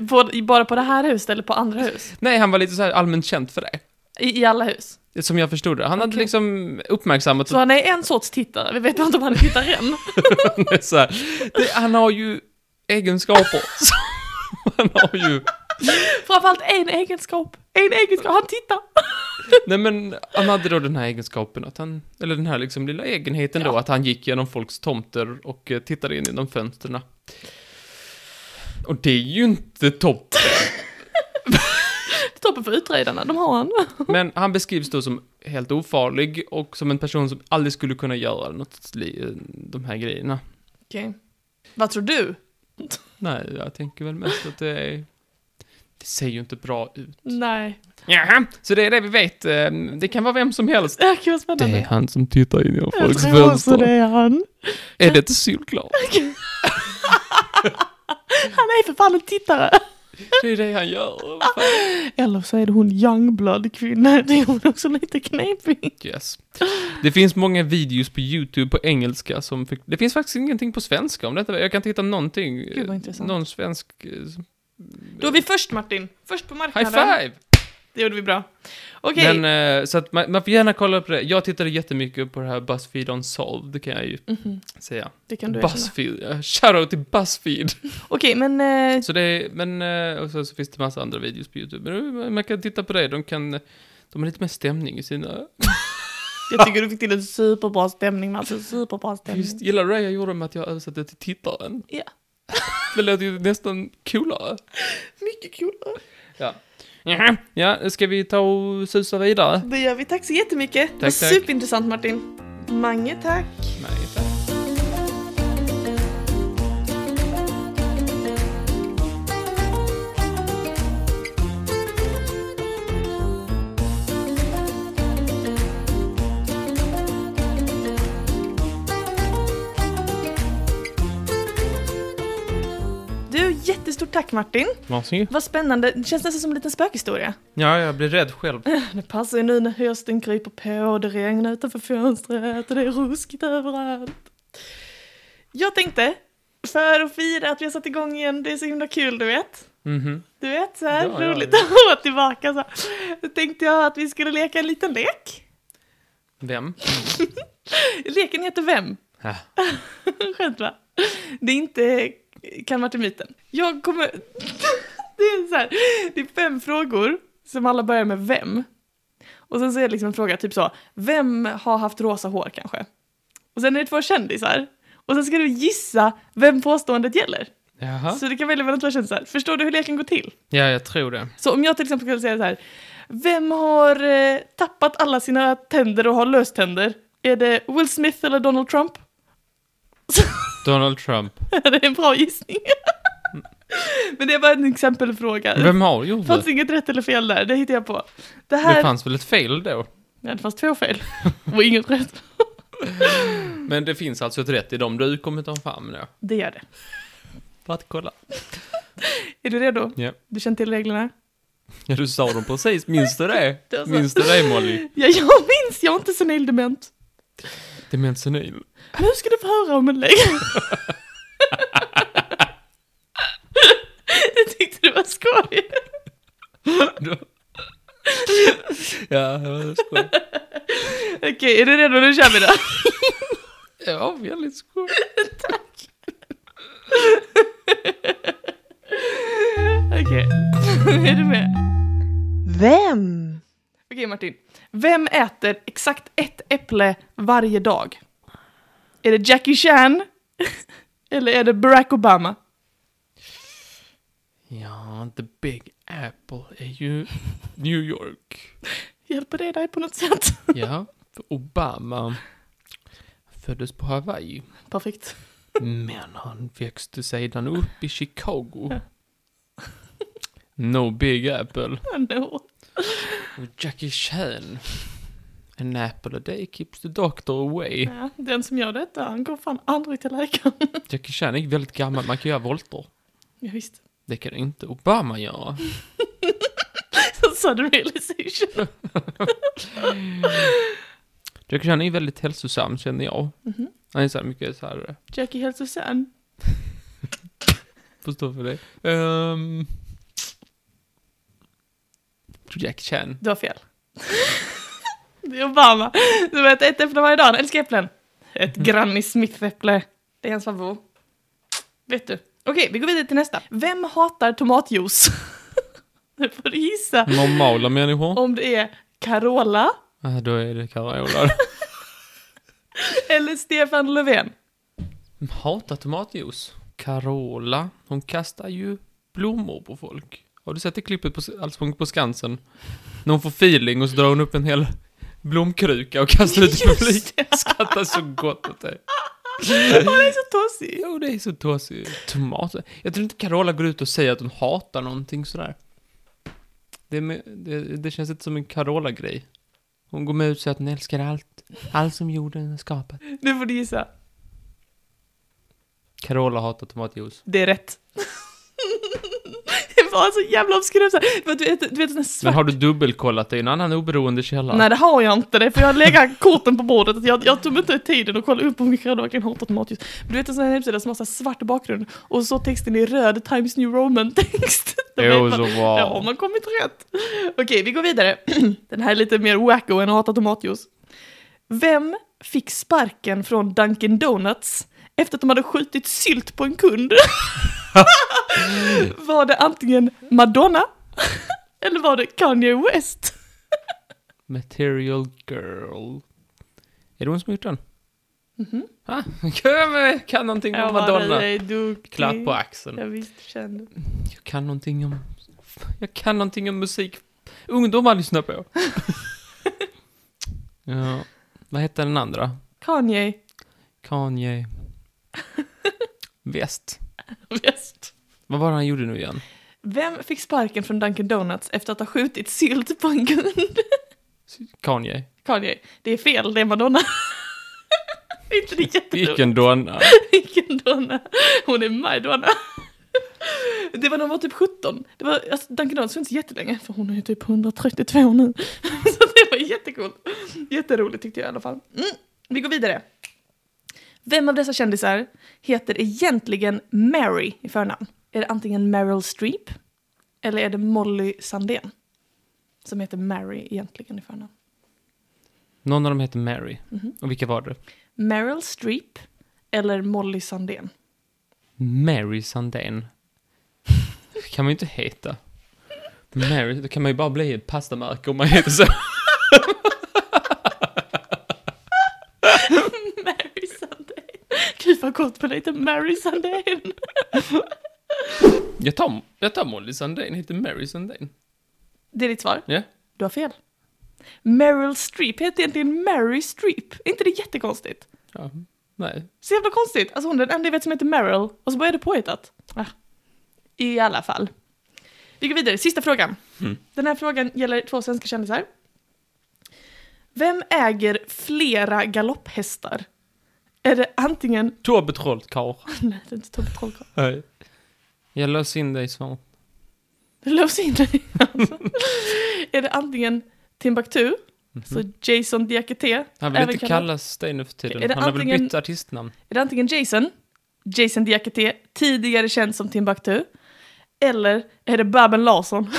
[SPEAKER 1] På, bara på det här huset eller på andra hus?
[SPEAKER 2] Nej, han var lite så här allmänt känd för det.
[SPEAKER 1] I, i alla hus?
[SPEAKER 2] Som jag förstod det. Han hade
[SPEAKER 1] Okej.
[SPEAKER 2] liksom uppmärksammat
[SPEAKER 1] Så han är en sorts tittare, vi vet inte om han är tittaren.
[SPEAKER 2] det så här. Det, han har ju egenskaper. som- han har ju...
[SPEAKER 1] Framförallt en egenskap. En egenskap, han tittar.
[SPEAKER 2] Nej men, han hade då den här egenskapen att han, eller den här liksom lilla egenheten då,
[SPEAKER 1] Ja.
[SPEAKER 2] att han gick genom folks tomter och eh, tittade in genom fönstren. Och det är ju inte topp.
[SPEAKER 1] Toppen för utredarna, de har han.
[SPEAKER 2] Men han beskrivs då som helt ofarlig och som en person som aldrig skulle kunna göra något, li- eh, de här grejerna.
[SPEAKER 1] Okej. Vad tror du?
[SPEAKER 2] Nej, jag tänker väl mest att det är... Det ser ju inte bra ut.
[SPEAKER 1] Nej.
[SPEAKER 2] Jaha, så det är det vi vet. eh, Det kan vara vem som helst.
[SPEAKER 1] Det här kan vara spännande.
[SPEAKER 2] han som tittar in genom
[SPEAKER 1] jag tror också det är han.
[SPEAKER 2] Är det inte solklart?
[SPEAKER 1] Han är för fan en tittare.
[SPEAKER 2] Det är det han gör.
[SPEAKER 1] Eller så är det hon Youngblood-kvinna. Det är hon också lite knepig.
[SPEAKER 2] Yes. Det finns många videos på YouTube på engelska som... För, det finns faktiskt ingenting på svenska om detta. Jag kan inte hitta någonting.
[SPEAKER 1] Gud, vad intressant.
[SPEAKER 2] Någon svensk... eh,
[SPEAKER 1] Då är vi först Martin. Först på
[SPEAKER 2] High
[SPEAKER 1] marknaden.
[SPEAKER 2] five!
[SPEAKER 1] Det gjorde vi bra. Okej.
[SPEAKER 2] Men, eh, så att man, man får gärna kolla på det. Jag tittade jättemycket på det här Buzzfeed Unsolved, det kan jag ju
[SPEAKER 1] Mhm,
[SPEAKER 2] säga.
[SPEAKER 1] Det kan du erkänna.
[SPEAKER 2] Buzzfeed, ja. shoutout till Buzzfeed!
[SPEAKER 1] Okej, men... Eh,
[SPEAKER 2] Så det är, men, eh, och sen så finns det massa andra videos på YouTube. Men eh, man kan titta på det, de kan, eh, de har lite mer stämning i sina...
[SPEAKER 1] jag tycker du fick till en superbra stämning, Martin. Superbra stämning.
[SPEAKER 2] Just, gillar du det jag gjorde med att jag översatte till tittaren?
[SPEAKER 1] Ja.
[SPEAKER 2] Det lät ju nästan coolare.
[SPEAKER 1] Mycket kul.
[SPEAKER 2] Ja. Jaha, Ja, ska vi ta och susa vidare?
[SPEAKER 1] Det gör vi. Tack så jättemycket. det var
[SPEAKER 2] tack.
[SPEAKER 1] superintressant Martin. Mange tack.
[SPEAKER 2] Nej, tack.
[SPEAKER 1] Du, jättestort tack Martin.
[SPEAKER 2] Varsågod.
[SPEAKER 1] Vad spännande. Det känns nästan som en liten spökhistoria.
[SPEAKER 2] Ja, jag blir rädd själv.
[SPEAKER 1] Det passar ju nu när hösten kryper på och det regnar utanför fönstret och det är ruskigt överallt. Jag tänkte, för att fira att vi har satt igång igen, det är så himla kul du vet.
[SPEAKER 2] Mhm.
[SPEAKER 1] Du vet, så här
[SPEAKER 2] Ja, ja,
[SPEAKER 1] roligt
[SPEAKER 2] ja.
[SPEAKER 1] att vara tillbaka så. här. Då tänkte jag att vi skulle leka en liten lek.
[SPEAKER 2] Vem?
[SPEAKER 1] Leken heter Vem?
[SPEAKER 2] Ja.
[SPEAKER 1] Skönt va? Det är inte Kan Martin-myten. Jag kommer... det, är så här, det är fem frågor som alla börjar med vem. Och sen så är det liksom en fråga typ så, vem har haft rosa hår kanske? Och sen är det två kändisar. Och sen ska du gissa vem påståendet gäller.
[SPEAKER 2] Jaha.
[SPEAKER 1] Så du kan välja mellan två kändisar. Förstår du hur leken går till?
[SPEAKER 2] Ja, jag tror det.
[SPEAKER 1] Så om jag till exempel skulle säga så här, vem har eh, tappat alla sina tänder och har löständer? Är det Will Smith eller Donald Trump?
[SPEAKER 2] Donald Trump.
[SPEAKER 1] det är en bra gissning. Men det är bara en exempelfråga.
[SPEAKER 2] Vem har gjort
[SPEAKER 1] Det fanns
[SPEAKER 2] det?
[SPEAKER 1] inget rätt eller fel där, det hittade jag på. Det här...
[SPEAKER 2] Det fanns väl ett fel då?
[SPEAKER 1] Ja, det fanns två fel. Och inget rätt.
[SPEAKER 2] Men det finns alltså ett rätt i dem du kommer ta fram då?
[SPEAKER 1] Det gör det.
[SPEAKER 2] För att kolla.
[SPEAKER 1] Är du redo?
[SPEAKER 2] Ja.
[SPEAKER 1] Du känner till reglerna?
[SPEAKER 2] Ja, du sa dem precis. Minns du det?
[SPEAKER 1] Det var så.
[SPEAKER 2] Minns du det, Molly?
[SPEAKER 1] Ja, jag minns! Jag är inte senil dement.
[SPEAKER 2] Demensenil.
[SPEAKER 1] Nu ska du få höra om en lek. jag tyckte det var skoj.
[SPEAKER 2] Ja, det var skoj.
[SPEAKER 1] Okej, är du redo? Nu kör vi då.
[SPEAKER 2] Ja, väldigt skoj.
[SPEAKER 1] Okej, är du med?
[SPEAKER 3] Vem?
[SPEAKER 1] Okej Martin, vem äter exakt ett äpple varje dag? Är det Jackie Chan? Eller är det Barack Obama?
[SPEAKER 2] Ja, the big apple är ju New York.
[SPEAKER 1] Hjälper det dig på något sätt?
[SPEAKER 2] Ja, för Obama föddes på Hawaii.
[SPEAKER 1] Perfekt.
[SPEAKER 2] Men han växte sedan upp i Chicago. No big apple.
[SPEAKER 1] Oh, no.
[SPEAKER 2] Och Jackie Chan. An apple a day keeps the doctor away.
[SPEAKER 1] ja, den som gör detta, han går fan aldrig till läkaren.
[SPEAKER 2] Jackie Chan är väldigt gammal, man kan göra volter.
[SPEAKER 1] Ja, visst.
[SPEAKER 2] Det kan inte Obama göra.
[SPEAKER 1] Sudden realization.
[SPEAKER 2] Jackie Chan är väldigt hälsosam känner jag.
[SPEAKER 1] Mhm.
[SPEAKER 2] Han är så här mycket så här, eh,
[SPEAKER 1] Jackie hälsosam.
[SPEAKER 2] förstår för dig. Um, Jackie Chan.
[SPEAKER 1] Du har fel. Det är Obama. Du äter ett äpple varje dag, han älskar äpplen. Ett
[SPEAKER 2] Mm.
[SPEAKER 1] Granny Smith-äpple. Det är hans favorit. Vet du. Okej, vi går vidare till nästa. Vem hatar tomatjuice? Nu får du gissa
[SPEAKER 2] Mm. Normala människor.
[SPEAKER 1] om det är Carola
[SPEAKER 2] Ah, då är det Carola.
[SPEAKER 1] eller Stefan Löfven.
[SPEAKER 2] Hatar tomatjuice. Carola, hon kastar ju blommor på folk. Har du sett det klippet på S- Allsång på Skansen? När hon får feeling och så drar hon upp en hel blomkruka och kastar ut i
[SPEAKER 1] Just
[SPEAKER 2] publiken. Skrattar så gott åt det.
[SPEAKER 1] Hon är så tossig.
[SPEAKER 2] Jo, det är så tossigt. Tomat. Jag tror inte Carola går ut och säger att hon hatar någonting sådär. Det, är med, det, det känns inte som en Carola-grej. Hon går med ut och säger att hon älskar allt. Allt som jorden har skapat.
[SPEAKER 1] Nu får du gissa.
[SPEAKER 2] Carola hatar tomatjuice.
[SPEAKER 1] Det är rätt. Det var så jävla obskyrt. så här. För att Du vet, du vet den här
[SPEAKER 2] Men
[SPEAKER 1] svart...
[SPEAKER 2] har du dubbelkollat det i en annan oberoende källa?
[SPEAKER 1] Nej det har jag inte det, för jag lägger korten på bordet. Att Jag, jag tog inte tiden att kolla upp om Mikael verkligen hatar tomatljus. Men Du vet en sån här hemsida som har så här svart bakgrund och så texten i röd Times New Roman-text. Då vet
[SPEAKER 2] Jo,
[SPEAKER 1] man-
[SPEAKER 2] så
[SPEAKER 1] Där har
[SPEAKER 2] bra.
[SPEAKER 1] man kommit rätt. Okej, vi går vidare. Den här är lite mer wacko än att hata tomatjuice. Vem fick sparken från Dunkin Donuts efter att de hade skjutit sylt på en kund? var det antingen Madonna eller var det Kanye West?
[SPEAKER 2] Material Girl. Är det hon som har gjort den?
[SPEAKER 1] Mhm.
[SPEAKER 2] Ah, jag kan någonting om Madonna.
[SPEAKER 1] är duktig.
[SPEAKER 2] Klapp på axeln.
[SPEAKER 1] Jag visst kände.
[SPEAKER 2] Jag kan någonting om... Jag kan någonting om musik. Ungdomar lyssnar på. ja. Vad hette den andra?
[SPEAKER 1] Kanye.
[SPEAKER 2] Kanye. Väst.
[SPEAKER 1] Visst.
[SPEAKER 2] Vad var det han gjorde nu igen?
[SPEAKER 1] Vem fick sparken från Dunkin' Donuts efter att ha skjutit sylt på en kund?
[SPEAKER 2] Kanye.
[SPEAKER 1] Kanye. Det är fel, det är Madonna. Inte det jättedumt.
[SPEAKER 2] Vilken dåna.
[SPEAKER 1] Vilken donna. Hon är my donna. Det var när hon var typ 17. Det var, alltså, Dunkin' Donuts finns jättelänge, för hon är ju typ 132 nu. Så det var jättekult. Jätteroligt tyckte jag i alla fall. Mm. Vi går vidare. Vem av dessa kändisar heter egentligen Mary i förnamn? Är det antingen Meryl Streep eller är det Molly Sandén? Som heter Mary egentligen i förnamn.
[SPEAKER 2] Någon av dem hette Mary.
[SPEAKER 1] Mhm.
[SPEAKER 2] Och vilka var det?
[SPEAKER 1] Meryl Streep eller Molly Sandén?
[SPEAKER 2] Mary Sandén. kan man ju inte heta. Mary, då kan man ju bara bli ett pastamärke om man heter så.
[SPEAKER 1] Mary Sunday. Gud vad gott på lite Mary Sunday.
[SPEAKER 2] Jag tar, jag tar Molly Sandén, heter Mary Sandén.
[SPEAKER 1] Det är ditt svar?
[SPEAKER 2] Ja.
[SPEAKER 1] Du har fel. Meryl Streep heter egentligen Mary Streep. Är inte det jättekonstigt?
[SPEAKER 2] Ja, nej.
[SPEAKER 1] Så jävla konstigt. Alltså hon är den enda jag vet som heter Meryl och så bara är det påhittat. Ah. I alla fall. Vi går vidare, sista frågan.
[SPEAKER 2] Mm.
[SPEAKER 1] Den här frågan gäller två svenska kändisar. Vem äger flera galopphästar? Är det antingen...
[SPEAKER 2] Tobbe Trollkarl.
[SPEAKER 1] Nej, det är inte Tobbe Trollkarl.
[SPEAKER 2] Hej. Jag låser in dig snart.
[SPEAKER 1] Lås in dig. Alltså. är det antingen Timbuktu, så Jason Diakité.
[SPEAKER 2] Mhm. Han vill
[SPEAKER 1] även
[SPEAKER 2] inte
[SPEAKER 1] kallad-
[SPEAKER 2] kallas det nu för
[SPEAKER 1] Är
[SPEAKER 2] tiden.
[SPEAKER 1] det
[SPEAKER 2] Han har väl
[SPEAKER 1] antingen-
[SPEAKER 2] bytt artistnamn.
[SPEAKER 1] Är det antingen Jason, Jason Diakité, tidigare känd som Timbuktu, eller är det Babben Larsson?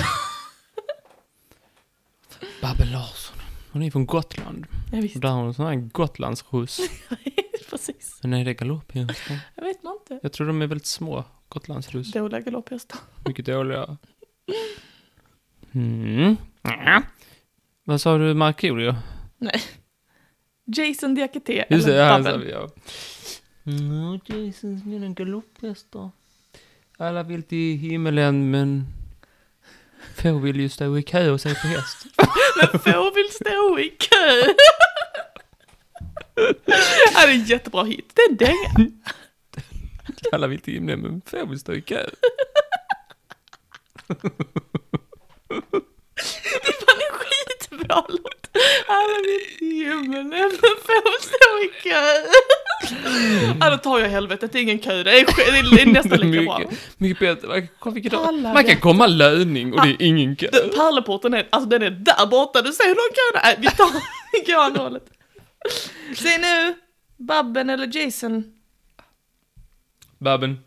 [SPEAKER 2] Babben Larsson. Hon är från Gotland.
[SPEAKER 1] Jag
[SPEAKER 2] Och
[SPEAKER 1] visste
[SPEAKER 2] där har hon en sån här gotlandsskjuts.
[SPEAKER 1] precis.
[SPEAKER 2] Men är det galopphästar?
[SPEAKER 1] Jag vet man inte.
[SPEAKER 2] Jag tror de är väldigt små. Gotlandshus.
[SPEAKER 1] Dåliga galopphästar.
[SPEAKER 2] Mycket dåliga. Mm. Ja. Vad sa du, Markoolio?
[SPEAKER 1] Jason Diakité
[SPEAKER 2] Just det,
[SPEAKER 1] eller
[SPEAKER 2] han sa
[SPEAKER 1] Babben.
[SPEAKER 2] vi ja. Mm, Jason spelar galopphästar. Alla vill till himmelen, men få vill ju stå i kö och se på häst.
[SPEAKER 1] Men får vill stå i kö. Ja, det är en jättebra hit. Det är en dänga.
[SPEAKER 2] Alla vill till himlen, men få vill stå i kö.
[SPEAKER 1] Det är fan en skitbra låt! Alla vet himmelen men får stå i kö. Ja, då tar jag helvetet, det är ingen kö, det är, sk- det är nästan lika bra.
[SPEAKER 2] mycket, mycket bättre. Man kan, vilket dag.
[SPEAKER 1] Alla
[SPEAKER 2] man kan
[SPEAKER 1] vet. Ah.
[SPEAKER 2] komma löning och det är ingen kö.
[SPEAKER 1] Den Pärleporten är, alltså den är där borta, du ser hur lång kö det är. Vi tar, vi går andra hållet. Se nu, Babben eller Jason.
[SPEAKER 2] Babben.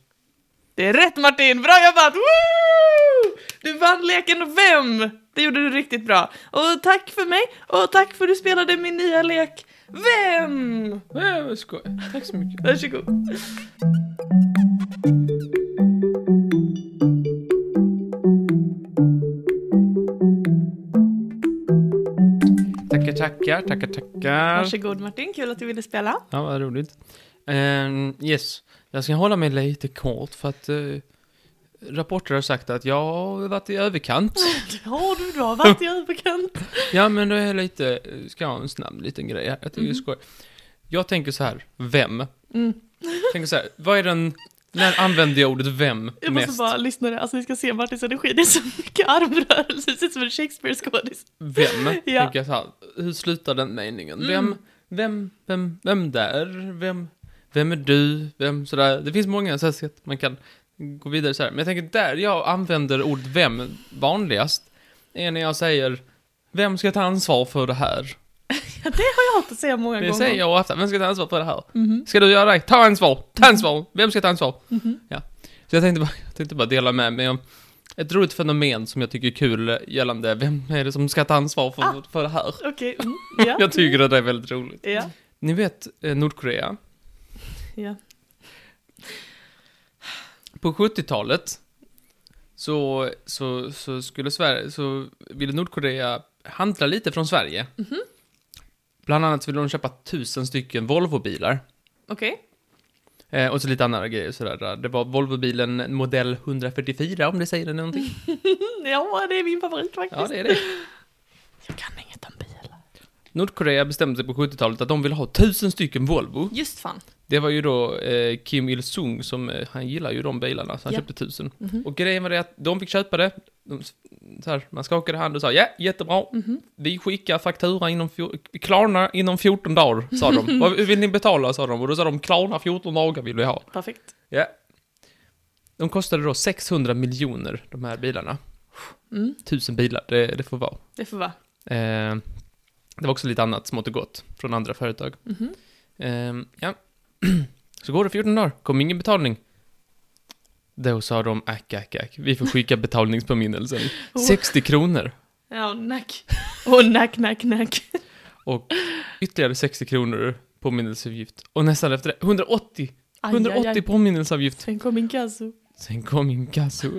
[SPEAKER 1] Det är rätt Martin, bra jobbat! Woo! Du vann leken Vem? Det gjorde du riktigt bra. Och tack för mig, och tack för att du spelade min nya lek Vem?
[SPEAKER 2] Ja, vad skoj. Tack så mycket.
[SPEAKER 1] Varsågod.
[SPEAKER 2] Tackar, tackar, tackar, tackar.
[SPEAKER 1] Varsågod Martin, kul att du ville spela.
[SPEAKER 2] Ja, vad roligt. Ehm, yes, jag ska hålla mig lite kort för att eh, rapporter har sagt att jag har varit i överkant.
[SPEAKER 1] Ja du, du har varit i överkant.
[SPEAKER 2] ja, men då är jag lite, eh, ska jag ha en snabb liten grej här. Jag tycker det är
[SPEAKER 1] Mhm.
[SPEAKER 2] skoj. Jag tänker så här, vem?
[SPEAKER 1] Mm.
[SPEAKER 2] tänker så här, vad är den, när använder jag ordet vem
[SPEAKER 1] Jag måste
[SPEAKER 2] mest?
[SPEAKER 1] bara lyssna, nu. alltså ni ska se Martins energi, det är så mycket armrörelser, det ser ut som en Shakespeare-skådis.
[SPEAKER 2] Vem?
[SPEAKER 1] Ja.
[SPEAKER 2] Tänker jag så här, hur slutar den meningen?
[SPEAKER 1] Mm.
[SPEAKER 2] Vem, vem, vem, vem där? Vem, vem är du? Vem sådär? Det finns många så här sätt man kan gå vidare så här. Men jag tänker där jag använder ordet vem vanligast är när jag säger vem ska ta ansvar för det här?
[SPEAKER 1] Ja, det har jag hört att säga många
[SPEAKER 2] Det
[SPEAKER 1] gånger.
[SPEAKER 2] säger jag ofta, vem ska ta ansvar för det här?
[SPEAKER 1] Mhm.
[SPEAKER 2] Ska du göra det? Ta ansvar! Ta
[SPEAKER 1] Mm.
[SPEAKER 2] ansvar! Vem ska ta ansvar?
[SPEAKER 1] Mm-hmm.
[SPEAKER 2] Ja. Så jag tänkte, bara, jag tänkte bara dela med mig om ett roligt fenomen som jag tycker är kul gällande vem är det som ska ta ansvar för,
[SPEAKER 1] Ah.
[SPEAKER 2] för det här?
[SPEAKER 1] Okej, mm, ja.
[SPEAKER 2] Jag tycker att det är väldigt roligt.
[SPEAKER 1] Ja,
[SPEAKER 2] Ni vet eh, Nordkorea.
[SPEAKER 1] ja.
[SPEAKER 2] På 70-talet så, så, så skulle Sverige, så ville Nordkorea handla lite från Sverige. Bland annat ville de köpa tusen stycken Volvo-bilar.
[SPEAKER 1] Okej.
[SPEAKER 2] Eh, och så lite andra grejer sådär. Det var Volvobilen modell 144 om det säger dig någonting.
[SPEAKER 1] mm, Ja, det är min favorit faktiskt.
[SPEAKER 2] Ja, det är det.
[SPEAKER 1] Jag kan inget om bilar.
[SPEAKER 2] Nordkorea bestämde sig på 70-talet att de ville ha tusen stycken Volvo.
[SPEAKER 1] Just fan.
[SPEAKER 2] Det var ju då eh, Kim Il-Sung som, eh, han gillar ju de bilarna, så han
[SPEAKER 1] Ja.
[SPEAKER 2] köpte tusen. Och grejen var det att de fick köpa det. De, så här, man skakade hand och sa ja, jättebra. Vi skickar faktura inom, fjor- Klarna inom 14 dagar, sa de. Vad vill ni betala, sa de. Och då sa de Klarna 14 dagar vill vi ha.
[SPEAKER 1] Perfekt.
[SPEAKER 2] Ja. De kostade då 600 miljoner, de här bilarna.
[SPEAKER 1] Mm,
[SPEAKER 2] Tusen bilar, det, det får vara.
[SPEAKER 1] det får vara.
[SPEAKER 2] Eh, det var också lite annat smått och gott från andra företag.
[SPEAKER 1] Mhm.
[SPEAKER 2] Ehm, ja. Så går det 14 dagar, kom ingen betalning. Då sa de, ack, ack, ack, vi får skicka betalningspåminnelsen. 60 kronor
[SPEAKER 1] Ja, nack. Och nack, nack, nack.
[SPEAKER 2] och ytterligare 60 kronor påminnelseavgift. Och nästan efter det, 180, 180 påminnelseavgift.
[SPEAKER 1] Sen kom inkasso.
[SPEAKER 2] Sen kom inkasso.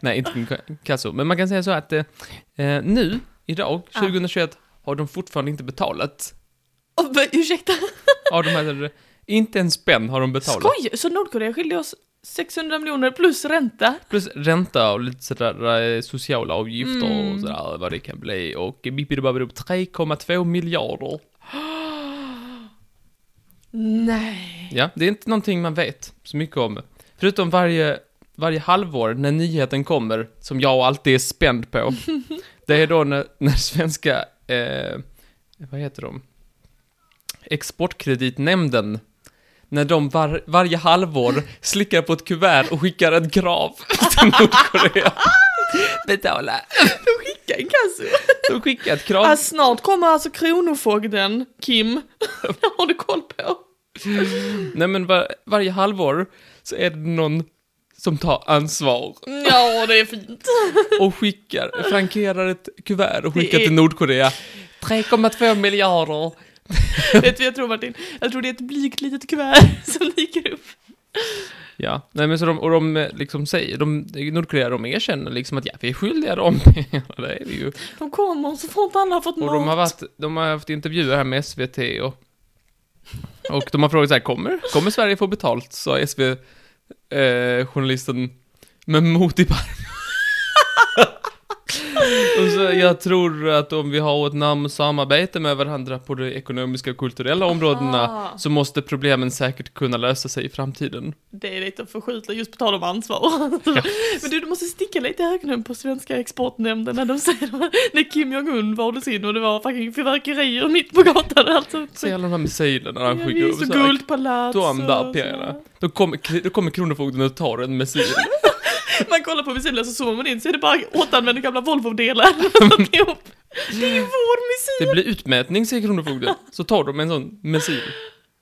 [SPEAKER 2] Nej, inte inkasso, men man kan säga så att eh, eh, nu, idag,
[SPEAKER 1] Ah.
[SPEAKER 2] 2021, har de fortfarande inte betalat.
[SPEAKER 1] Oh, men, ursäkta.
[SPEAKER 2] Har de här, inte en spänn har de betalat.
[SPEAKER 1] Skoj! Så Nordkorea skilde oss 600 miljoner plus ränta.
[SPEAKER 2] Plus ränta och lite sådär eh, sociala avgifter
[SPEAKER 1] Mm.
[SPEAKER 2] och sådär vad det kan bli. Och bippidibabbidop 3,2 miljarder.
[SPEAKER 1] Nej.
[SPEAKER 2] Ja, det är inte någonting man vet så mycket om. Förutom varje, varje halvår när nyheten kommer, som jag alltid är spänd på. det är då när, när svenska, eh, vad heter de? Exportkreditnämnden. När de var, varje halvår slickar på ett kuvert och skickar ett krav till Nordkorea. Betala.
[SPEAKER 1] Skicka inkasso.
[SPEAKER 2] De skickar ett krav.
[SPEAKER 1] Ah, snart kommer alltså Kronofogden, Kim. Det har du koll på.
[SPEAKER 2] Nej men var, varje halvår så är det någon som tar ansvar
[SPEAKER 1] Ja, det är fint.
[SPEAKER 2] och skickar, frankerar ett kuvert och
[SPEAKER 1] Det
[SPEAKER 2] skickar
[SPEAKER 1] är-
[SPEAKER 2] till Nordkorea. 3,2 miljarder.
[SPEAKER 1] Vet du vad jag tror Martin? Jag tror det är ett blygt litet kuvert som dyker upp.
[SPEAKER 2] Ja, nej men så de, och de eh, liksom säger, de, Nordkorea de erkänner liksom att ja, vi är skyldiga dem pengarna, det är vi ju.
[SPEAKER 1] De kommer så fort alla har fått
[SPEAKER 2] Och
[SPEAKER 1] mat.
[SPEAKER 2] de har varit, de har haft intervjuer här med SVT och, och de har frågat så här, kommer, kommer Sverige få betalt? Sa SV-journalisten med mot i barmen. och så, jag tror att om vi har ett namnsamarbete med varandra på de ekonomiska och kulturella områdena
[SPEAKER 1] Aha.
[SPEAKER 2] så måste problemen säkert kunna lösa sig i framtiden.
[SPEAKER 1] Det är lite att förskjuta just på tal om ansvar. Men du, du måste sticka lite i ögonen på svenska exportnämnden när de säger när Kim Jong-Un valdes in och det var fucking fyrverkerier mitt på gatan alltså. och allt sånt.
[SPEAKER 2] Se alla de här missilerna han
[SPEAKER 1] Ja,
[SPEAKER 2] skickar upp.
[SPEAKER 1] visst,
[SPEAKER 2] så
[SPEAKER 1] och
[SPEAKER 2] här,
[SPEAKER 1] guldpalats
[SPEAKER 2] De där
[SPEAKER 1] och
[SPEAKER 2] pengarna.
[SPEAKER 1] sådär.
[SPEAKER 2] Då kommer, då kommer Kronofogden och tar en missil.
[SPEAKER 1] Man kollar på missilen så zoomar man in så är det bara återanvända gamla Volvo-delar. Det är ihop. Det är ju vår missil!
[SPEAKER 2] Det blir utmätning, säger Kronofogden. Så tar de en sån missil.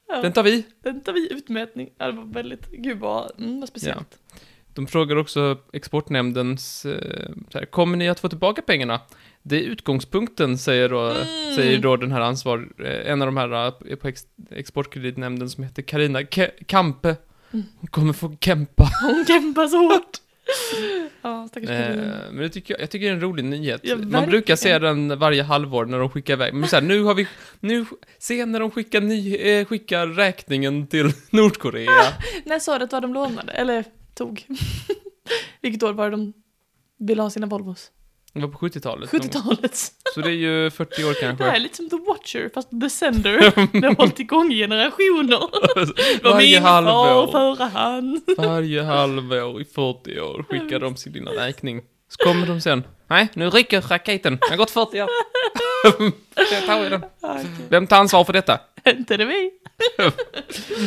[SPEAKER 1] Ja.
[SPEAKER 2] Den tar vi.
[SPEAKER 1] Väntar vi utmätning? Ja, det var väldigt, gud vad, mm, vad speciellt.
[SPEAKER 2] De frågar också Exportnämndens, eh, så här, kommer ni att få tillbaka pengarna? Det är utgångspunkten, säger då,
[SPEAKER 1] Mm.
[SPEAKER 2] säger då den här ansvar, eh, en av de här eh, på ex, Exportkreditnämnden som heter Karina Ke- Kampe.
[SPEAKER 1] Mm.
[SPEAKER 2] Hon kommer få kämpa.
[SPEAKER 1] Hon kämpar så hårt. Ja, stackars
[SPEAKER 2] Eh,
[SPEAKER 1] Karolina.
[SPEAKER 2] men det tycker jag, jag tycker det är en rolig nyhet.
[SPEAKER 1] Ja,
[SPEAKER 2] Man
[SPEAKER 1] verkligen.
[SPEAKER 2] brukar se den varje halvår när de skickar iväg. Men så här, nu har vi, nu, se när de skickar, ny, eh, skickar räkningen till Nordkorea.
[SPEAKER 1] Nästa året var de lånade, eller tog. Vilket år var det de ville ha sina Volvos?
[SPEAKER 2] Det var på 70-talet.
[SPEAKER 1] 70-talet.
[SPEAKER 2] Så det är ju 40 år
[SPEAKER 1] Det
[SPEAKER 2] kanske.
[SPEAKER 1] här är lite som The Watcher, fast The Sender. Det har hållit igång generationer. Det var
[SPEAKER 2] Varje
[SPEAKER 1] min far
[SPEAKER 2] halvår.
[SPEAKER 1] före han.
[SPEAKER 2] Varje halvår i 40 år skickar de sin lilla räkning. Så kommer de sen. Nej, nu rycker raketen. Den har gått 40 år. Jag tar i den.
[SPEAKER 1] Ah, okej.
[SPEAKER 2] Vem tar ansvar för detta?
[SPEAKER 1] Mm. Inte det vi.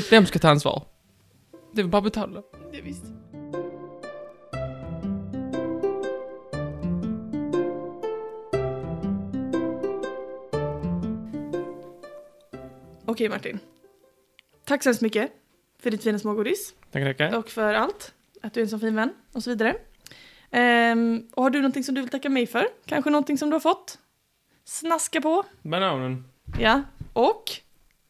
[SPEAKER 2] Vem ska ta ansvar? Det är bara att betala.
[SPEAKER 1] Det visst. Okej Martin. Tack så hemskt mycket för ditt fina smågodis.
[SPEAKER 2] Tackar, tackar.
[SPEAKER 1] Och för allt. Att du är en sån fin vän och så vidare. Ehm, och har du någonting som du vill tacka mig för? Kanske någonting som du har fått? Snaska på.
[SPEAKER 2] Bananen.
[SPEAKER 1] Ja. Och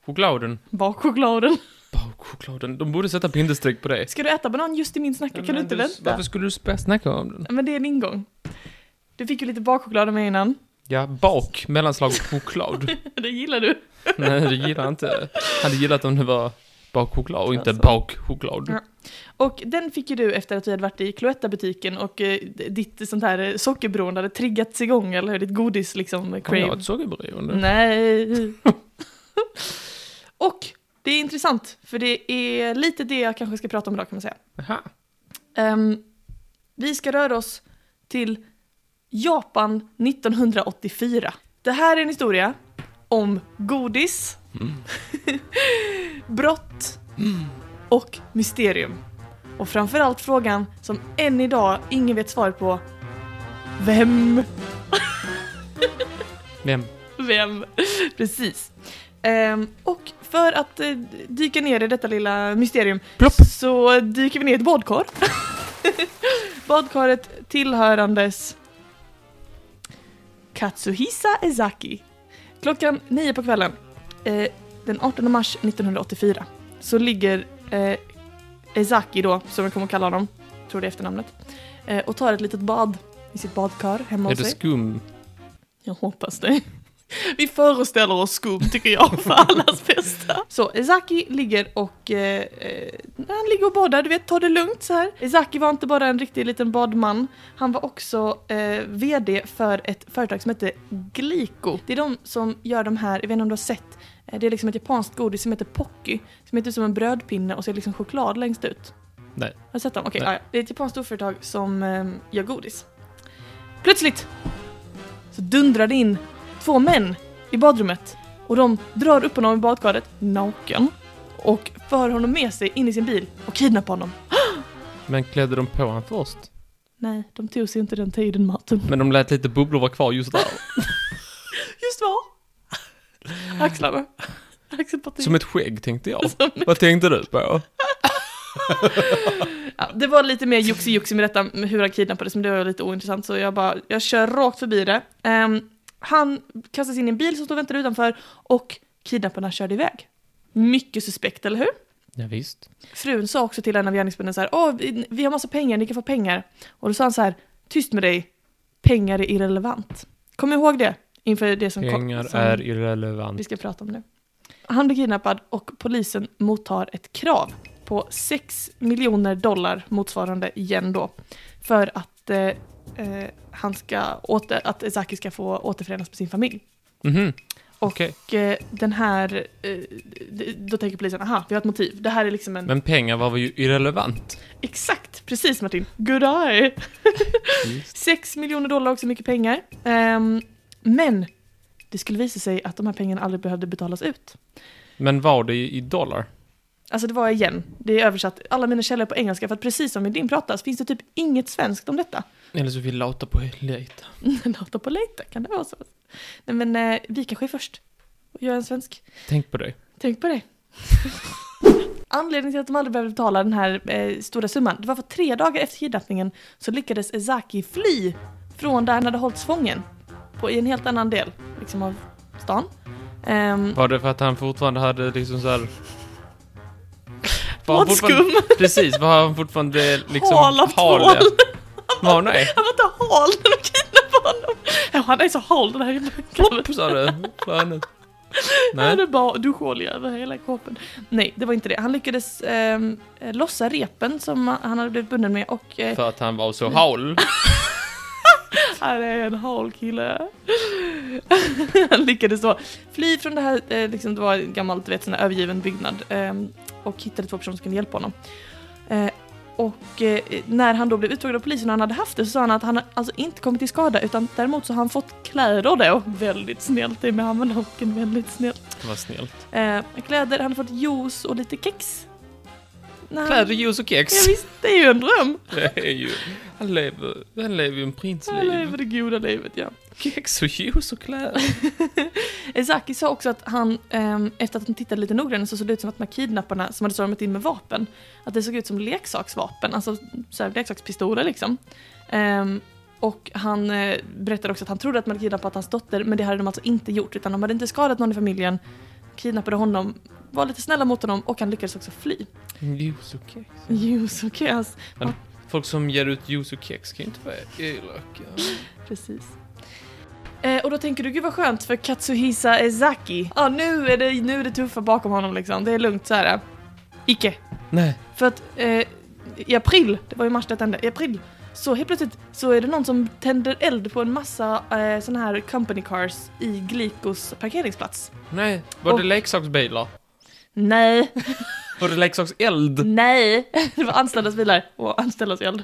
[SPEAKER 2] Chokladen.
[SPEAKER 1] bakchokladen.
[SPEAKER 2] Bakchokladen. De borde sätta bindestreck på det.
[SPEAKER 1] Ska du äta banan just i min snacka? kan du inte vänta?
[SPEAKER 2] Varför skulle du spä- snacka om den?
[SPEAKER 1] Men det är en ingång. Du fick ju lite bakchoklad av mig innan.
[SPEAKER 2] Ja, bak, mellanslag choklad.
[SPEAKER 1] Det gillar du.
[SPEAKER 2] Nej, det gillar jag inte. Hade gillat om det var bakchoklad och inte
[SPEAKER 1] Alltså.
[SPEAKER 2] bakchoklad.
[SPEAKER 1] Ja. Och den fick ju du efter att vi hade varit i Cloetta-butiken och eh, d- ditt sånt här eh, sockerberoende hade triggats igång, eller hur? Ditt godis liksom, eh,
[SPEAKER 2] Har jag
[SPEAKER 1] crave.
[SPEAKER 2] ett sockerberoende?
[SPEAKER 1] Nej. och det är intressant, för det är lite det jag kanske ska prata om idag kan man säga.
[SPEAKER 2] Aha.
[SPEAKER 1] Ehm, vi ska röra oss till Japan 1984. Det här är en historia om godis, brott och mysterium. Och framförallt frågan som än idag ingen vet svaret på. Vem?
[SPEAKER 2] Vem?
[SPEAKER 1] Vem? Precis. Ehm, och för att eh, dyka ner i detta lilla mysterium
[SPEAKER 2] Plopp!
[SPEAKER 1] så dyker vi ner i ett badkar. Badkaret tillhörandes Katsuhisa Ezaki. Klockan nio på kvällen eh, den 18 mars 1984 så ligger eh, Ezaki då, som jag kommer att kalla honom, tror det är efternamnet, eh, och tar ett litet bad i sitt badkar hemma
[SPEAKER 2] Är
[SPEAKER 1] hos
[SPEAKER 2] det
[SPEAKER 1] sig.
[SPEAKER 2] skum?
[SPEAKER 1] Jag hoppas det. Vi föreställer oss skum tycker jag, för allas bästa. Så Ezaki ligger och... Eh, eh, han ligger och badar, du vet, tar det lugnt så här. Ezaki var inte bara en riktig liten badman. Han var också eh, VD för ett företag som heter Glico. Det är de som gör de här, jag vet inte om du har sett, eh, det är liksom ett japanskt godis som heter Pocky. Som heter som en brödpinne och ser liksom choklad längst ut.
[SPEAKER 2] Nej.
[SPEAKER 1] Har du sett dem? Okej,
[SPEAKER 2] Nej.
[SPEAKER 1] ja, ja. Det är ett japanskt storföretag som eh, gör godis. Plötsligt så dundrar det in två män i badrummet och de drar upp honom i badkaret, naken, och för honom med sig in i sin bil och kidnappar honom.
[SPEAKER 2] Men klädde de på han först?
[SPEAKER 1] Nej, de tog sig inte den tiden, Martin.
[SPEAKER 2] Men de lät lite bubblor vara kvar just där.
[SPEAKER 1] Just vad? Axlarna. Axelpartiet.
[SPEAKER 2] Som ett skägg tänkte jag. Vad tänkte du på?
[SPEAKER 1] Ja, det var lite mer joxi-joxi med detta med hur han kidnappades, men det var lite ointressant så jag bara, jag kör rakt förbi det. Ehm, han kastas in i en bil som står och väntar utanför och kidnapparna körde iväg. Mycket suspekt, eller hur?
[SPEAKER 2] Ja, visst.
[SPEAKER 1] Frun sa också till en av gärningsmännen så här, Åh, vi, vi har massa pengar, ni kan få pengar. Och då sa han så här, tyst med dig, pengar är irrelevant. Kom ihåg det, inför det som kom-
[SPEAKER 2] Pengar
[SPEAKER 1] som
[SPEAKER 2] är irrelevant.
[SPEAKER 1] vi ska prata om nu. Han blir kidnappad och polisen mottar ett krav på 6 miljoner dollar motsvarande igen då. För att eh, eh, han ska åter, att Ezaki ska få återförenas med sin familj.
[SPEAKER 2] Mhm.
[SPEAKER 1] Och-
[SPEAKER 2] Okej.
[SPEAKER 1] Och eh, den här, eh, d- då tänker polisen, aha, vi har ett motiv. Det här är liksom en
[SPEAKER 2] Men pengar var ju irrelevant.
[SPEAKER 1] Exakt, precis Martin. Good eye! 6 miljoner dollar, också mycket pengar. Ehm, men det skulle visa sig att de här pengarna aldrig behövde betalas ut.
[SPEAKER 2] Men var det i dollar?
[SPEAKER 1] Alltså det var igen, det är översatt, alla mina källor är på engelska för att precis som i din prata så finns det typ inget svenskt om detta.
[SPEAKER 2] Eller så vill lata på lite.
[SPEAKER 1] Låta på lite, kan det vara så? Nej men eh, vi kanske är först. Jag är en svensk.
[SPEAKER 2] Tänk på det.
[SPEAKER 1] Tänk på det. Anledningen till att de aldrig behövde betala den här eh, stora summan, det var för att tre dagar efter kidnappningen så lyckades Ezaki fly från där han hade hållits fången. På, I en helt annan del liksom av stan. Ehm,
[SPEAKER 2] Var det för att han fortfarande hade liksom så här... Var han fortfarande-
[SPEAKER 1] Båtskum!
[SPEAKER 2] Precis, var han fortfarande liksom...
[SPEAKER 1] Hal av
[SPEAKER 2] ja.
[SPEAKER 1] tvål.
[SPEAKER 2] Var nej.
[SPEAKER 1] Han var inte hal när de kidnappade honom! Ja, han är så hal den här jäveln.
[SPEAKER 2] Plopp, sa det. Skönet.
[SPEAKER 1] Nej. Han
[SPEAKER 2] Nej.
[SPEAKER 1] hade bara duscholja över hela kroppen. Nej, det var inte det. Han lyckades ehm, eh, lossa repen som han hade blivit bunden med och eh,
[SPEAKER 2] För att han var så hal.
[SPEAKER 1] Han är en hal kille. Han lyckades då fly från det här, eh, liksom det var en gammal, du vet, sån här övergiven byggnad. eh, Och hittade två personer som kunde hjälpa honom. Eh, Och eh, när han då blev uttråkad av polisen och han hade haft det så sa han att han alltså inte kommit till skada utan däremot så har han fått kläder då. Väldigt snällt, det är med hammarnocken, väldigt snällt.
[SPEAKER 2] Vad snällt.
[SPEAKER 1] Eh, Kläder, han har fått juice och lite kex. När han-
[SPEAKER 2] Kläder, juice och kex.
[SPEAKER 1] Ja, visst, det är ju en dröm.
[SPEAKER 2] Det är ju... Han lever, han lever ju en prinsliv.
[SPEAKER 1] Han lever det goda livet, ja.
[SPEAKER 2] Kex och juice och kläder.
[SPEAKER 1] Ezaki sa också att han, ehm, efter att han tittade lite noggrannare så såg det ut som att de här kidnapparna som hade stormat in med vapen, att det såg ut som leksaksvapen, alltså så här, leksakspistoler liksom. Ehm, och han eh, berättade också att han trodde att man hade kidnappat hans dotter, men det hade de alltså inte gjort, utan de hade inte skadat någon i familjen, kidnappade honom, var lite snälla mot honom och han lyckades också fly.
[SPEAKER 2] Juice och kex.
[SPEAKER 1] Jo, så kass.
[SPEAKER 2] Folk som ger ut juice och kex kan ju inte vara elaka.
[SPEAKER 1] Precis. Eh, och då tänker du, gud vad skönt för Katsuhisa Ezaki. Ja, nu är det, nu är det tuffa bakom honom liksom. Det är lugnt så här. Icke.
[SPEAKER 2] Nej.
[SPEAKER 1] För att eh, i april, det var ju mars det hände, i april så helt plötsligt så är det någon som tänder eld på en massa eh, såna här company cars i Glikos parkeringsplats.
[SPEAKER 2] Nej. Var det
[SPEAKER 1] Och-
[SPEAKER 2] leksaksbilar?
[SPEAKER 1] Nej,
[SPEAKER 2] Var det leksakseld?
[SPEAKER 1] nej, det var anställdas bilar och anställdas eld.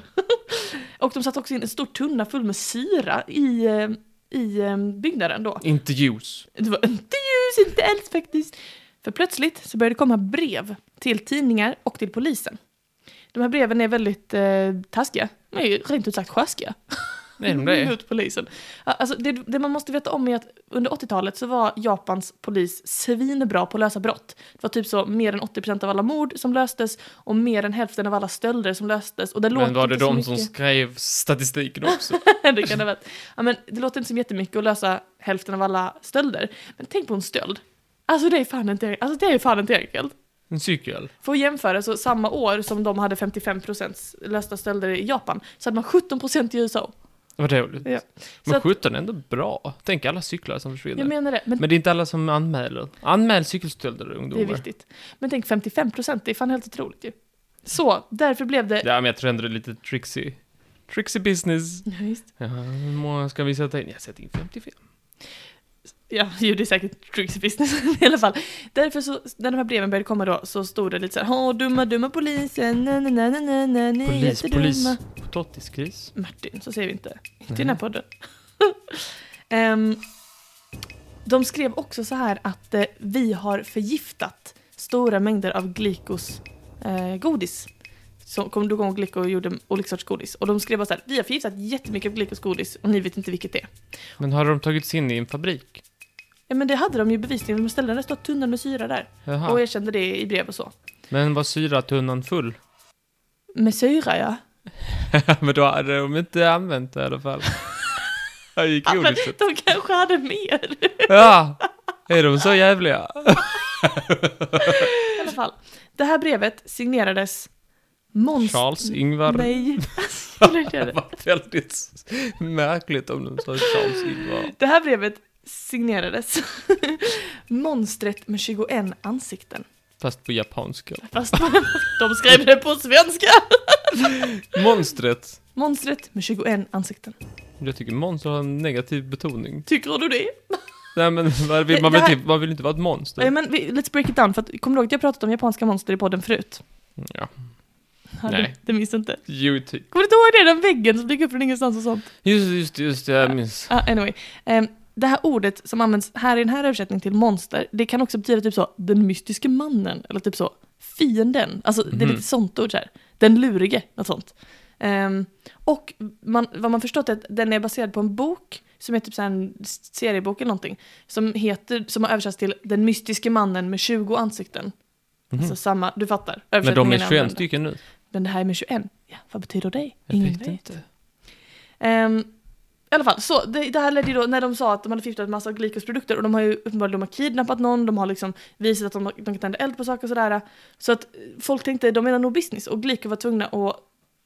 [SPEAKER 1] och de satte också in en stor tunna full med syra i, eh, i eh, byggnaden då.
[SPEAKER 2] Inte ljus.
[SPEAKER 1] Det var inte ljus, inte eld faktiskt. För plötsligt så började det komma brev till tidningar och till polisen. De här breven är väldigt eh, taskiga. De är ju rent ut sagt sjaskiga.
[SPEAKER 2] Nej, de det.
[SPEAKER 1] Mm, Mot polisen. Ja, Alltså, det, det man måste veta om är att under 80-talet så var Japans polis svinbra på att lösa brott. Det var typ så mer än 80% av alla mord som löstes och mer än hälften av alla stölder som löstes. Och det låter
[SPEAKER 2] Men var det
[SPEAKER 1] inte så
[SPEAKER 2] de
[SPEAKER 1] mycket...
[SPEAKER 2] som skrev statistiken också?
[SPEAKER 1] det kan det vara. Ja, men det låter inte som jättemycket att lösa hälften av alla stölder. Men tänk på en stöld. Alltså det är fan inte, alltså det är fan inte enkelt.
[SPEAKER 2] En cykel?
[SPEAKER 1] För att jämföra, så samma år som de hade 55% lösta stölder i Japan så hade man 17% i USA.
[SPEAKER 2] Vad roligt.
[SPEAKER 1] Ja. Så
[SPEAKER 2] Men
[SPEAKER 1] att,
[SPEAKER 2] 17 är ändå bra. Tänk alla cyklar som försvinner.
[SPEAKER 1] jag menar det, men
[SPEAKER 2] Men det är inte alla som anmäler. Anmäl cykelstölder
[SPEAKER 1] det
[SPEAKER 2] ungdomar.
[SPEAKER 1] är viktigt. Men tänk 55%, det är fan helt otroligt ju. Så, därför blev det...
[SPEAKER 2] Ja, men jag tror ändå det är lite tricksy. Tricksy business.
[SPEAKER 1] Ja, visst.
[SPEAKER 2] Ja, hur många ska vi sätta in? Jag sätter in 55.
[SPEAKER 1] Ja, ju det är säkert tricks business i alla fall. Därför så, när de här breven började komma då, så stod det lite så här, Åh, dumma, dumma polisen, na, na, na, na, na, na, ni är
[SPEAKER 2] Polis,
[SPEAKER 1] jättedumma."
[SPEAKER 2] polis. Potatisgris.
[SPEAKER 1] Martin, så säger vi inte. Inte i den här podden. Ehm, de skrev också så här att eh, vi har förgiftat stora mängder av Glikos eh, godis. Så kom du ihåg Glico gjorde olika sorts godis? Och de skrev bara så här, vi har förgiftat jättemycket av Glikos godis och ni vet inte vilket det är.
[SPEAKER 2] Men har de tagits in i en fabrik?
[SPEAKER 1] Ja men det hade de ju bevisligen, de ställde en rätt stor tunna med syra där.
[SPEAKER 2] Jaha.
[SPEAKER 1] Och erkände det i brev och så.
[SPEAKER 2] Men var syratunnan full?
[SPEAKER 1] Med syra ja.
[SPEAKER 2] men då hade de inte använt det i alla fall. Det gick
[SPEAKER 1] ja men
[SPEAKER 2] godiset.
[SPEAKER 1] de kanske hade mer i
[SPEAKER 2] Ja! Är de så jävliga?
[SPEAKER 1] alla fall. Det här brevet signerades Monster...
[SPEAKER 2] Charles Ingvar.
[SPEAKER 1] Nej. Skulle jag säga det?
[SPEAKER 2] Det var väldigt märkligt om de sa Charles Ingvar.
[SPEAKER 1] det här brevet signerades Monstret med 21 ansikten.
[SPEAKER 2] Fast på japanska.
[SPEAKER 1] Fast de skrev det på svenska!
[SPEAKER 2] Monstret.
[SPEAKER 1] Monstret med 21 ansikten.
[SPEAKER 2] Jag tycker monster har en negativ betoning.
[SPEAKER 1] Tycker du det?
[SPEAKER 2] Nej men vad vill, man,
[SPEAKER 1] Det här- Mm.
[SPEAKER 2] vill inte, man vill inte vara ett
[SPEAKER 1] Nej
[SPEAKER 2] monster.
[SPEAKER 1] men vi- let's break it down, för att, kommer du ihåg att jag pratat om japanska monster i podden förut?
[SPEAKER 2] Ja.
[SPEAKER 1] Ja,
[SPEAKER 2] Nej.
[SPEAKER 1] Det, det minns du inte.
[SPEAKER 2] Jo, ty-
[SPEAKER 1] Kommer du inte ihåg det? Den väggen som dyker upp från ingenstans och sånt.
[SPEAKER 2] Just just just det, jag minns.
[SPEAKER 1] Ah, anyway. Ehm, det här ordet som används här i den här översättningen till monster, det kan också betyda typ så, den mystiske mannen, eller typ så, fienden. Alltså det är
[SPEAKER 2] Mhm.
[SPEAKER 1] lite sånt ord så här. Den lurige, något sånt. Ehm, och man, vad man förstått är att den är baserad på en bok, som är typ så här en seriebok eller någonting, som, heter, som har översatts till Den mystiske mannen med 20 ansikten.
[SPEAKER 2] Mhm.
[SPEAKER 1] Alltså samma, du fattar.
[SPEAKER 2] Men de
[SPEAKER 1] översättningen
[SPEAKER 2] är
[SPEAKER 1] använder.
[SPEAKER 2] 21 stycken nu.
[SPEAKER 1] Men det här är med 21. Ja, vad betyder det?
[SPEAKER 2] Jag
[SPEAKER 1] Ingen
[SPEAKER 2] vet
[SPEAKER 1] vet.
[SPEAKER 2] inte.
[SPEAKER 1] Ehm, I alla fall, så det, det här ledde ju då när de sa att de hade förgiftat massa av Glikos produkter och de har ju uppenbarligen de har kidnappat någon, de har liksom visat att de, de kan tända eld på saker och sådär. Så att eh, folk tänkte, de menar nog business och Glico var tvungna att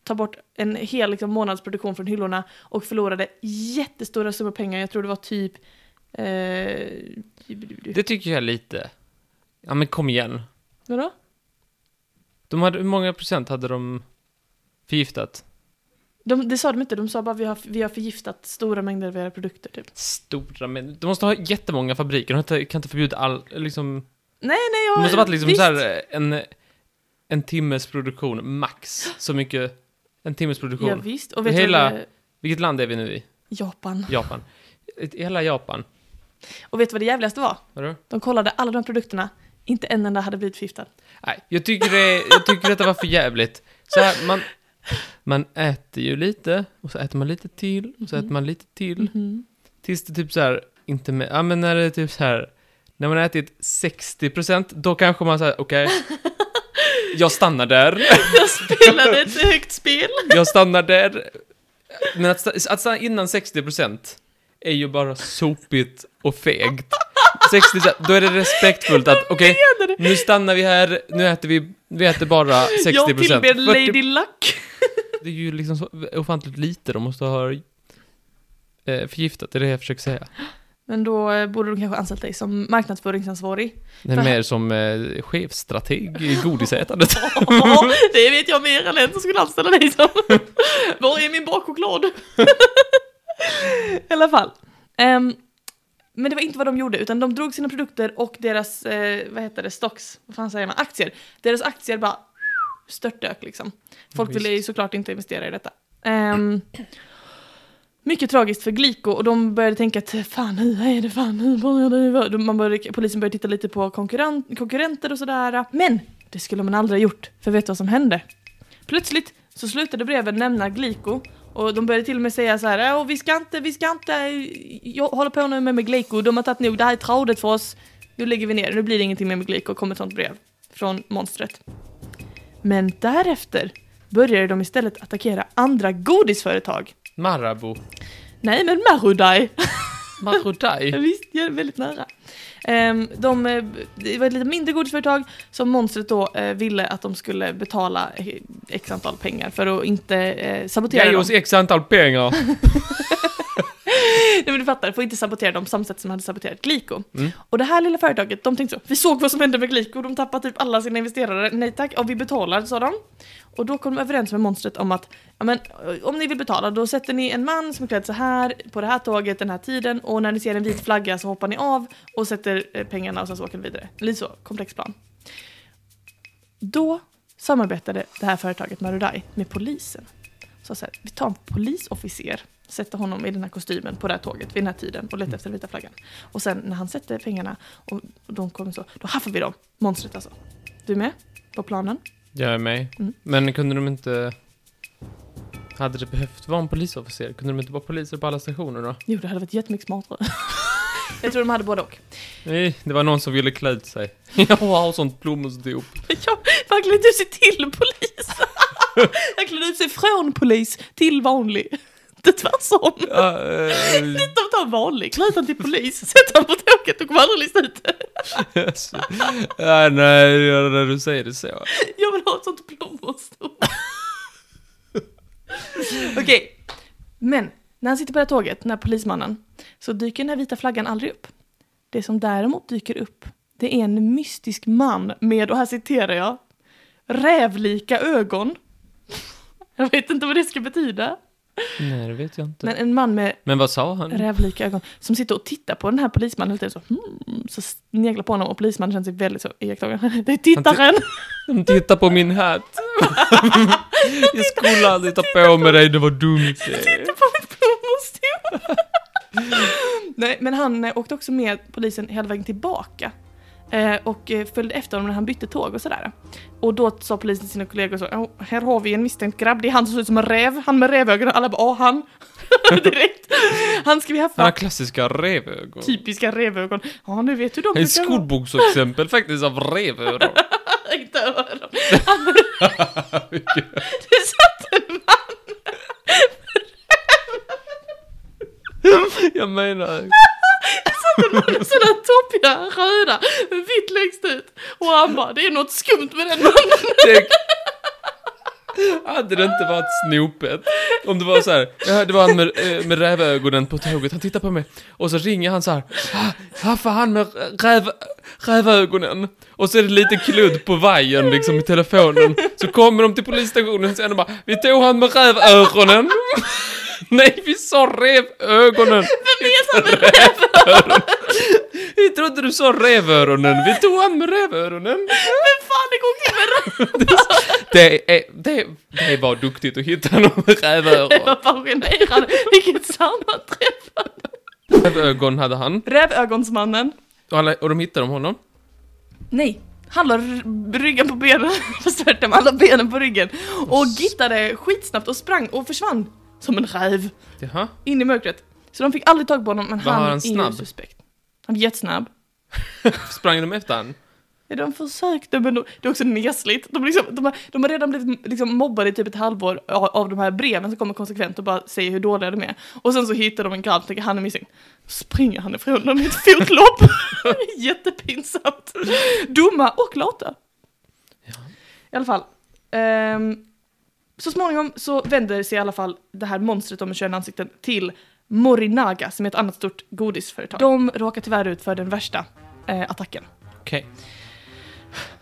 [SPEAKER 1] ta bort en hel liksom, månadsproduktion från hyllorna och förlorade jättestora summor pengar, jag tror det var typ eh,
[SPEAKER 2] Det tycker jag är lite. Ja men kom igen.
[SPEAKER 1] Vadå?
[SPEAKER 2] De hade, hur många procent hade de förgiftat?
[SPEAKER 1] De, det sa de inte, de sa bara vi har, vi har förgiftat stora mängder av era produkter typ.
[SPEAKER 2] Stora men De måste ha jättemånga fabriker. De har inte- kan inte förbjuda all, liksom.
[SPEAKER 1] Nej, jag,
[SPEAKER 2] Det måste ha varit liksom
[SPEAKER 1] visst.
[SPEAKER 2] så här en, en timmes produktion max. Så mycket. En timmes produktion.
[SPEAKER 1] Ja, visst. Och vet
[SPEAKER 2] Hela-
[SPEAKER 1] du vad det-
[SPEAKER 2] Vilket land är vi nu i?
[SPEAKER 1] Japan.
[SPEAKER 2] Japan. Ett- Hela Japan.
[SPEAKER 1] Och vet du vad det jävligaste var?
[SPEAKER 2] Vadå?
[SPEAKER 1] De kollade alla de produkterna, inte en enda hade blivit förgiftad.
[SPEAKER 2] Nej, jag tycker, det, jag tycker detta var för jävligt. Så här, man, man äter ju lite, och så äter man lite till, och så äter man lite till. Tills det typ så här, inte med, ja men när det är typ så här, när man har ätit 60%, då kanske man säger okej, jag stannar där,
[SPEAKER 1] Jag spelade ett högt spel.
[SPEAKER 2] jag stannar där. Men att, sta- att stanna innan 60% är ju bara sopigt och fegt. 60%, då är det respektfullt att okej, nu stannar vi här, nu äter vi, vi äter bara 60%.
[SPEAKER 1] Jag tillber Lady
[SPEAKER 2] 40
[SPEAKER 1] Luck.
[SPEAKER 2] Det är ju liksom så ofantligt lite de måste ha eh, förgiftat, det är det jag försöker säga.
[SPEAKER 1] Men då eh, borde de kanske anställt dig som marknadsföringsansvarig.
[SPEAKER 2] Det är
[SPEAKER 1] För-
[SPEAKER 2] mer som eh, chefstrateg i godisätandet.
[SPEAKER 1] Ja, det vet jag mer än en som skulle anställa dig som. Var är min bakchoklad? I alla fall. Ehm, men det var inte vad de gjorde, utan de drog sina produkter och deras, eh, vad heter det, stocks, vad fan säger man, aktier. Deras aktier bara störtdök liksom. Folk
[SPEAKER 2] Visst.
[SPEAKER 1] ville ju såklart inte investera i detta. Ehm, mycket tragiskt för Glico och de började tänka att fan hur är det, fan hur börjar det vara?" De- man började, Polisen började titta lite på konkurren- konkurrenter och sådär. Men det skulle man aldrig ha gjort, för vet du vad som hände? Plötsligt så slutade breven nämna Glico och de började till och med säga så här, "Åh, vi ska inte, vi ska inte eh, jag håller på nu med, med Glico, de har tagit nog, det här är tradigt för oss, nu lägger vi ner, nu blir det ingenting mer med Glico, kom ett sånt brev från monstret. Men därefter började de istället attackera andra godisföretag.
[SPEAKER 2] Marabou.
[SPEAKER 1] Nej men Marudai!
[SPEAKER 2] Marudai.
[SPEAKER 1] Visst, jag är väldigt nära. Ehm, de, eh, det var ett lite mindre godisföretag som monstret då eh, ville att de skulle betala eh, x antal pengar för att inte eh, sabotera
[SPEAKER 2] Ge
[SPEAKER 1] dem.
[SPEAKER 2] oss x antal pengar.
[SPEAKER 1] Nej men du fattar, får inte sabotera dem på samma sätt som de hade saboterat Glico.
[SPEAKER 2] Mm.
[SPEAKER 1] Och det här lilla företaget, de tänkte så, vi såg vad som hände med Glico, de tappade typ alla sina investerare, nej tack, om vi betalar, sa de. Och då kom de överens med monstret om att, ja men eh, om ni vill betala då sätter ni en man som är klädd så här på det här tåget den här tiden och när ni ser en vit flagga så hoppar ni av och sätter eh, pengarna och sen så åker ni vidare. Lite så, komplex plan. Då samarbetade det här företaget Marudai med polisen. Så, så här, vi tar en polisofficer, sätter honom i den här kostymen på det här tåget vid den här tiden och letar efter den vita flaggan. Och sen när han sätter pengarna och och de kommer så, då haffar vi dem. Monstret alltså. Du med? På planen?
[SPEAKER 2] Jag är med.
[SPEAKER 1] Mm.
[SPEAKER 2] Men kunde de inte... Hade det behövt vara en polisofficer? Kunde de inte vara poliser på alla stationer då?
[SPEAKER 1] Jo, det hade varit jättemycket smartare. Jag tror de hade både och.
[SPEAKER 2] Nej, det var någon som ville klä ut sig. Jag har sånt blommersdop.
[SPEAKER 1] Ja, man klädde ut sig till polis. Jag klädde ut sig från polis till vanlig. Det tvärtom.
[SPEAKER 2] Ja, eh,
[SPEAKER 1] Lite av ta vanlig, klä ut han till polis, sätt han på tåget och kommer aldrig lista ut det.
[SPEAKER 2] yes. Ja, nej, ja, när du säger det så.
[SPEAKER 1] Jag vill ha ett sånt blommonstol. Okej, men när han sitter på det här tåget, den här polismannen, så dyker den här vita flaggan aldrig upp. Det som däremot dyker upp, det är en mystisk man med, och här citerar jag, rävlika ögon. Jag vet inte vad det ska betyda,
[SPEAKER 2] Nej, det vet jag inte.
[SPEAKER 1] men en man med
[SPEAKER 2] Men vad sa han?
[SPEAKER 1] rävlika ögon som sitter och tittar på den här polismannen hela tiden så, hmm, så sneglar på honom och polismannen känner sig väldigt så iakttagen. Det är tittaren!
[SPEAKER 2] De tittar på min hatt. Jag skulle aldrig ta på mig dig, det var dumt.
[SPEAKER 1] Titta på mitt blommostol! Nej, men han eh, åkte också med polisen hela vägen tillbaka. Eh, och eh, följde efter honom när han bytte tåg och sådär. Och då sa polisen till sina kollegor så, "Åh, här har vi en misstänkt grabb, det är han som ser ut som en räv, han med rävögon och alla bara, åh han! Direkt! Han ska vi
[SPEAKER 2] Han har
[SPEAKER 1] haffa!
[SPEAKER 2] klassiska revögon.
[SPEAKER 1] Typiska rävögon. Ja, nu vet du de
[SPEAKER 2] Det är ett
[SPEAKER 1] brukar vara.
[SPEAKER 2] skolboksexempel faktiskt av revöron.
[SPEAKER 1] inte öron. det satt en man.
[SPEAKER 2] Jag menar,
[SPEAKER 1] Det satt en man med sådana toppiga röda med vitt längst ut. Och han bara, det är något skumt med den mannen.
[SPEAKER 2] tänk. Hade det inte varit snopet? Om det var så här, ja, det var han med, eh, med rävögonen på tåget, han tittar på mig och så ringer han så här, "Ah, haffa han med räv, rävögonen. Och så är det lite kludd på vajern liksom i telefonen. Så kommer de till polisstationen sen och bara, vi tog han med rävöronen. Nej, vi sa revögonen.
[SPEAKER 1] Vem är han med
[SPEAKER 2] Vi trodde du sa revöronen, vi tog han med revöronen.
[SPEAKER 1] Vem fan det går omkring med röda?
[SPEAKER 2] Det, är, det, det var duktigt att hitta någon med
[SPEAKER 1] Jag
[SPEAKER 2] rävöron.
[SPEAKER 1] var fascinerad. Vilket sammanträff.
[SPEAKER 2] Rävögon hade han.
[SPEAKER 1] Rävögonsmannen.
[SPEAKER 2] Och, alla, och de hittade om honom.
[SPEAKER 1] Nej. Han la r- ryggen på benen, förstörde med alla benen på ryggen. Och gittade skitsnabbt och sprang och försvann. Som en räv.
[SPEAKER 2] Jaha.
[SPEAKER 1] in i mörkret. Så de fick aldrig tag på honom, men
[SPEAKER 2] Var
[SPEAKER 1] han,
[SPEAKER 2] han
[SPEAKER 1] är ju
[SPEAKER 2] snabb?
[SPEAKER 1] suspekt. Han är jättesnabb.
[SPEAKER 2] Sprang de efter han?
[SPEAKER 1] Ja, de försökte, men de, det är också nesligt. De, liksom, de, har, de har redan blivit liksom, mobbade i typ ett halvår av, av de här breven som kommer konsekvent och bara säger hur dåliga de är. Och sen så hittar de en grabb, tänker han är missing. Springer han ifrån dem i ett fotlopp. Jättepinsamt. Dumma och lata.
[SPEAKER 2] Ja.
[SPEAKER 1] I alla fall. ehm, så småningom så vänder sig i alla fall det här monstret om med 21 ansikten till Morinaga som är ett annat stort godisföretag. De råkar tyvärr ut för den värsta eh, attacken.
[SPEAKER 2] Okej.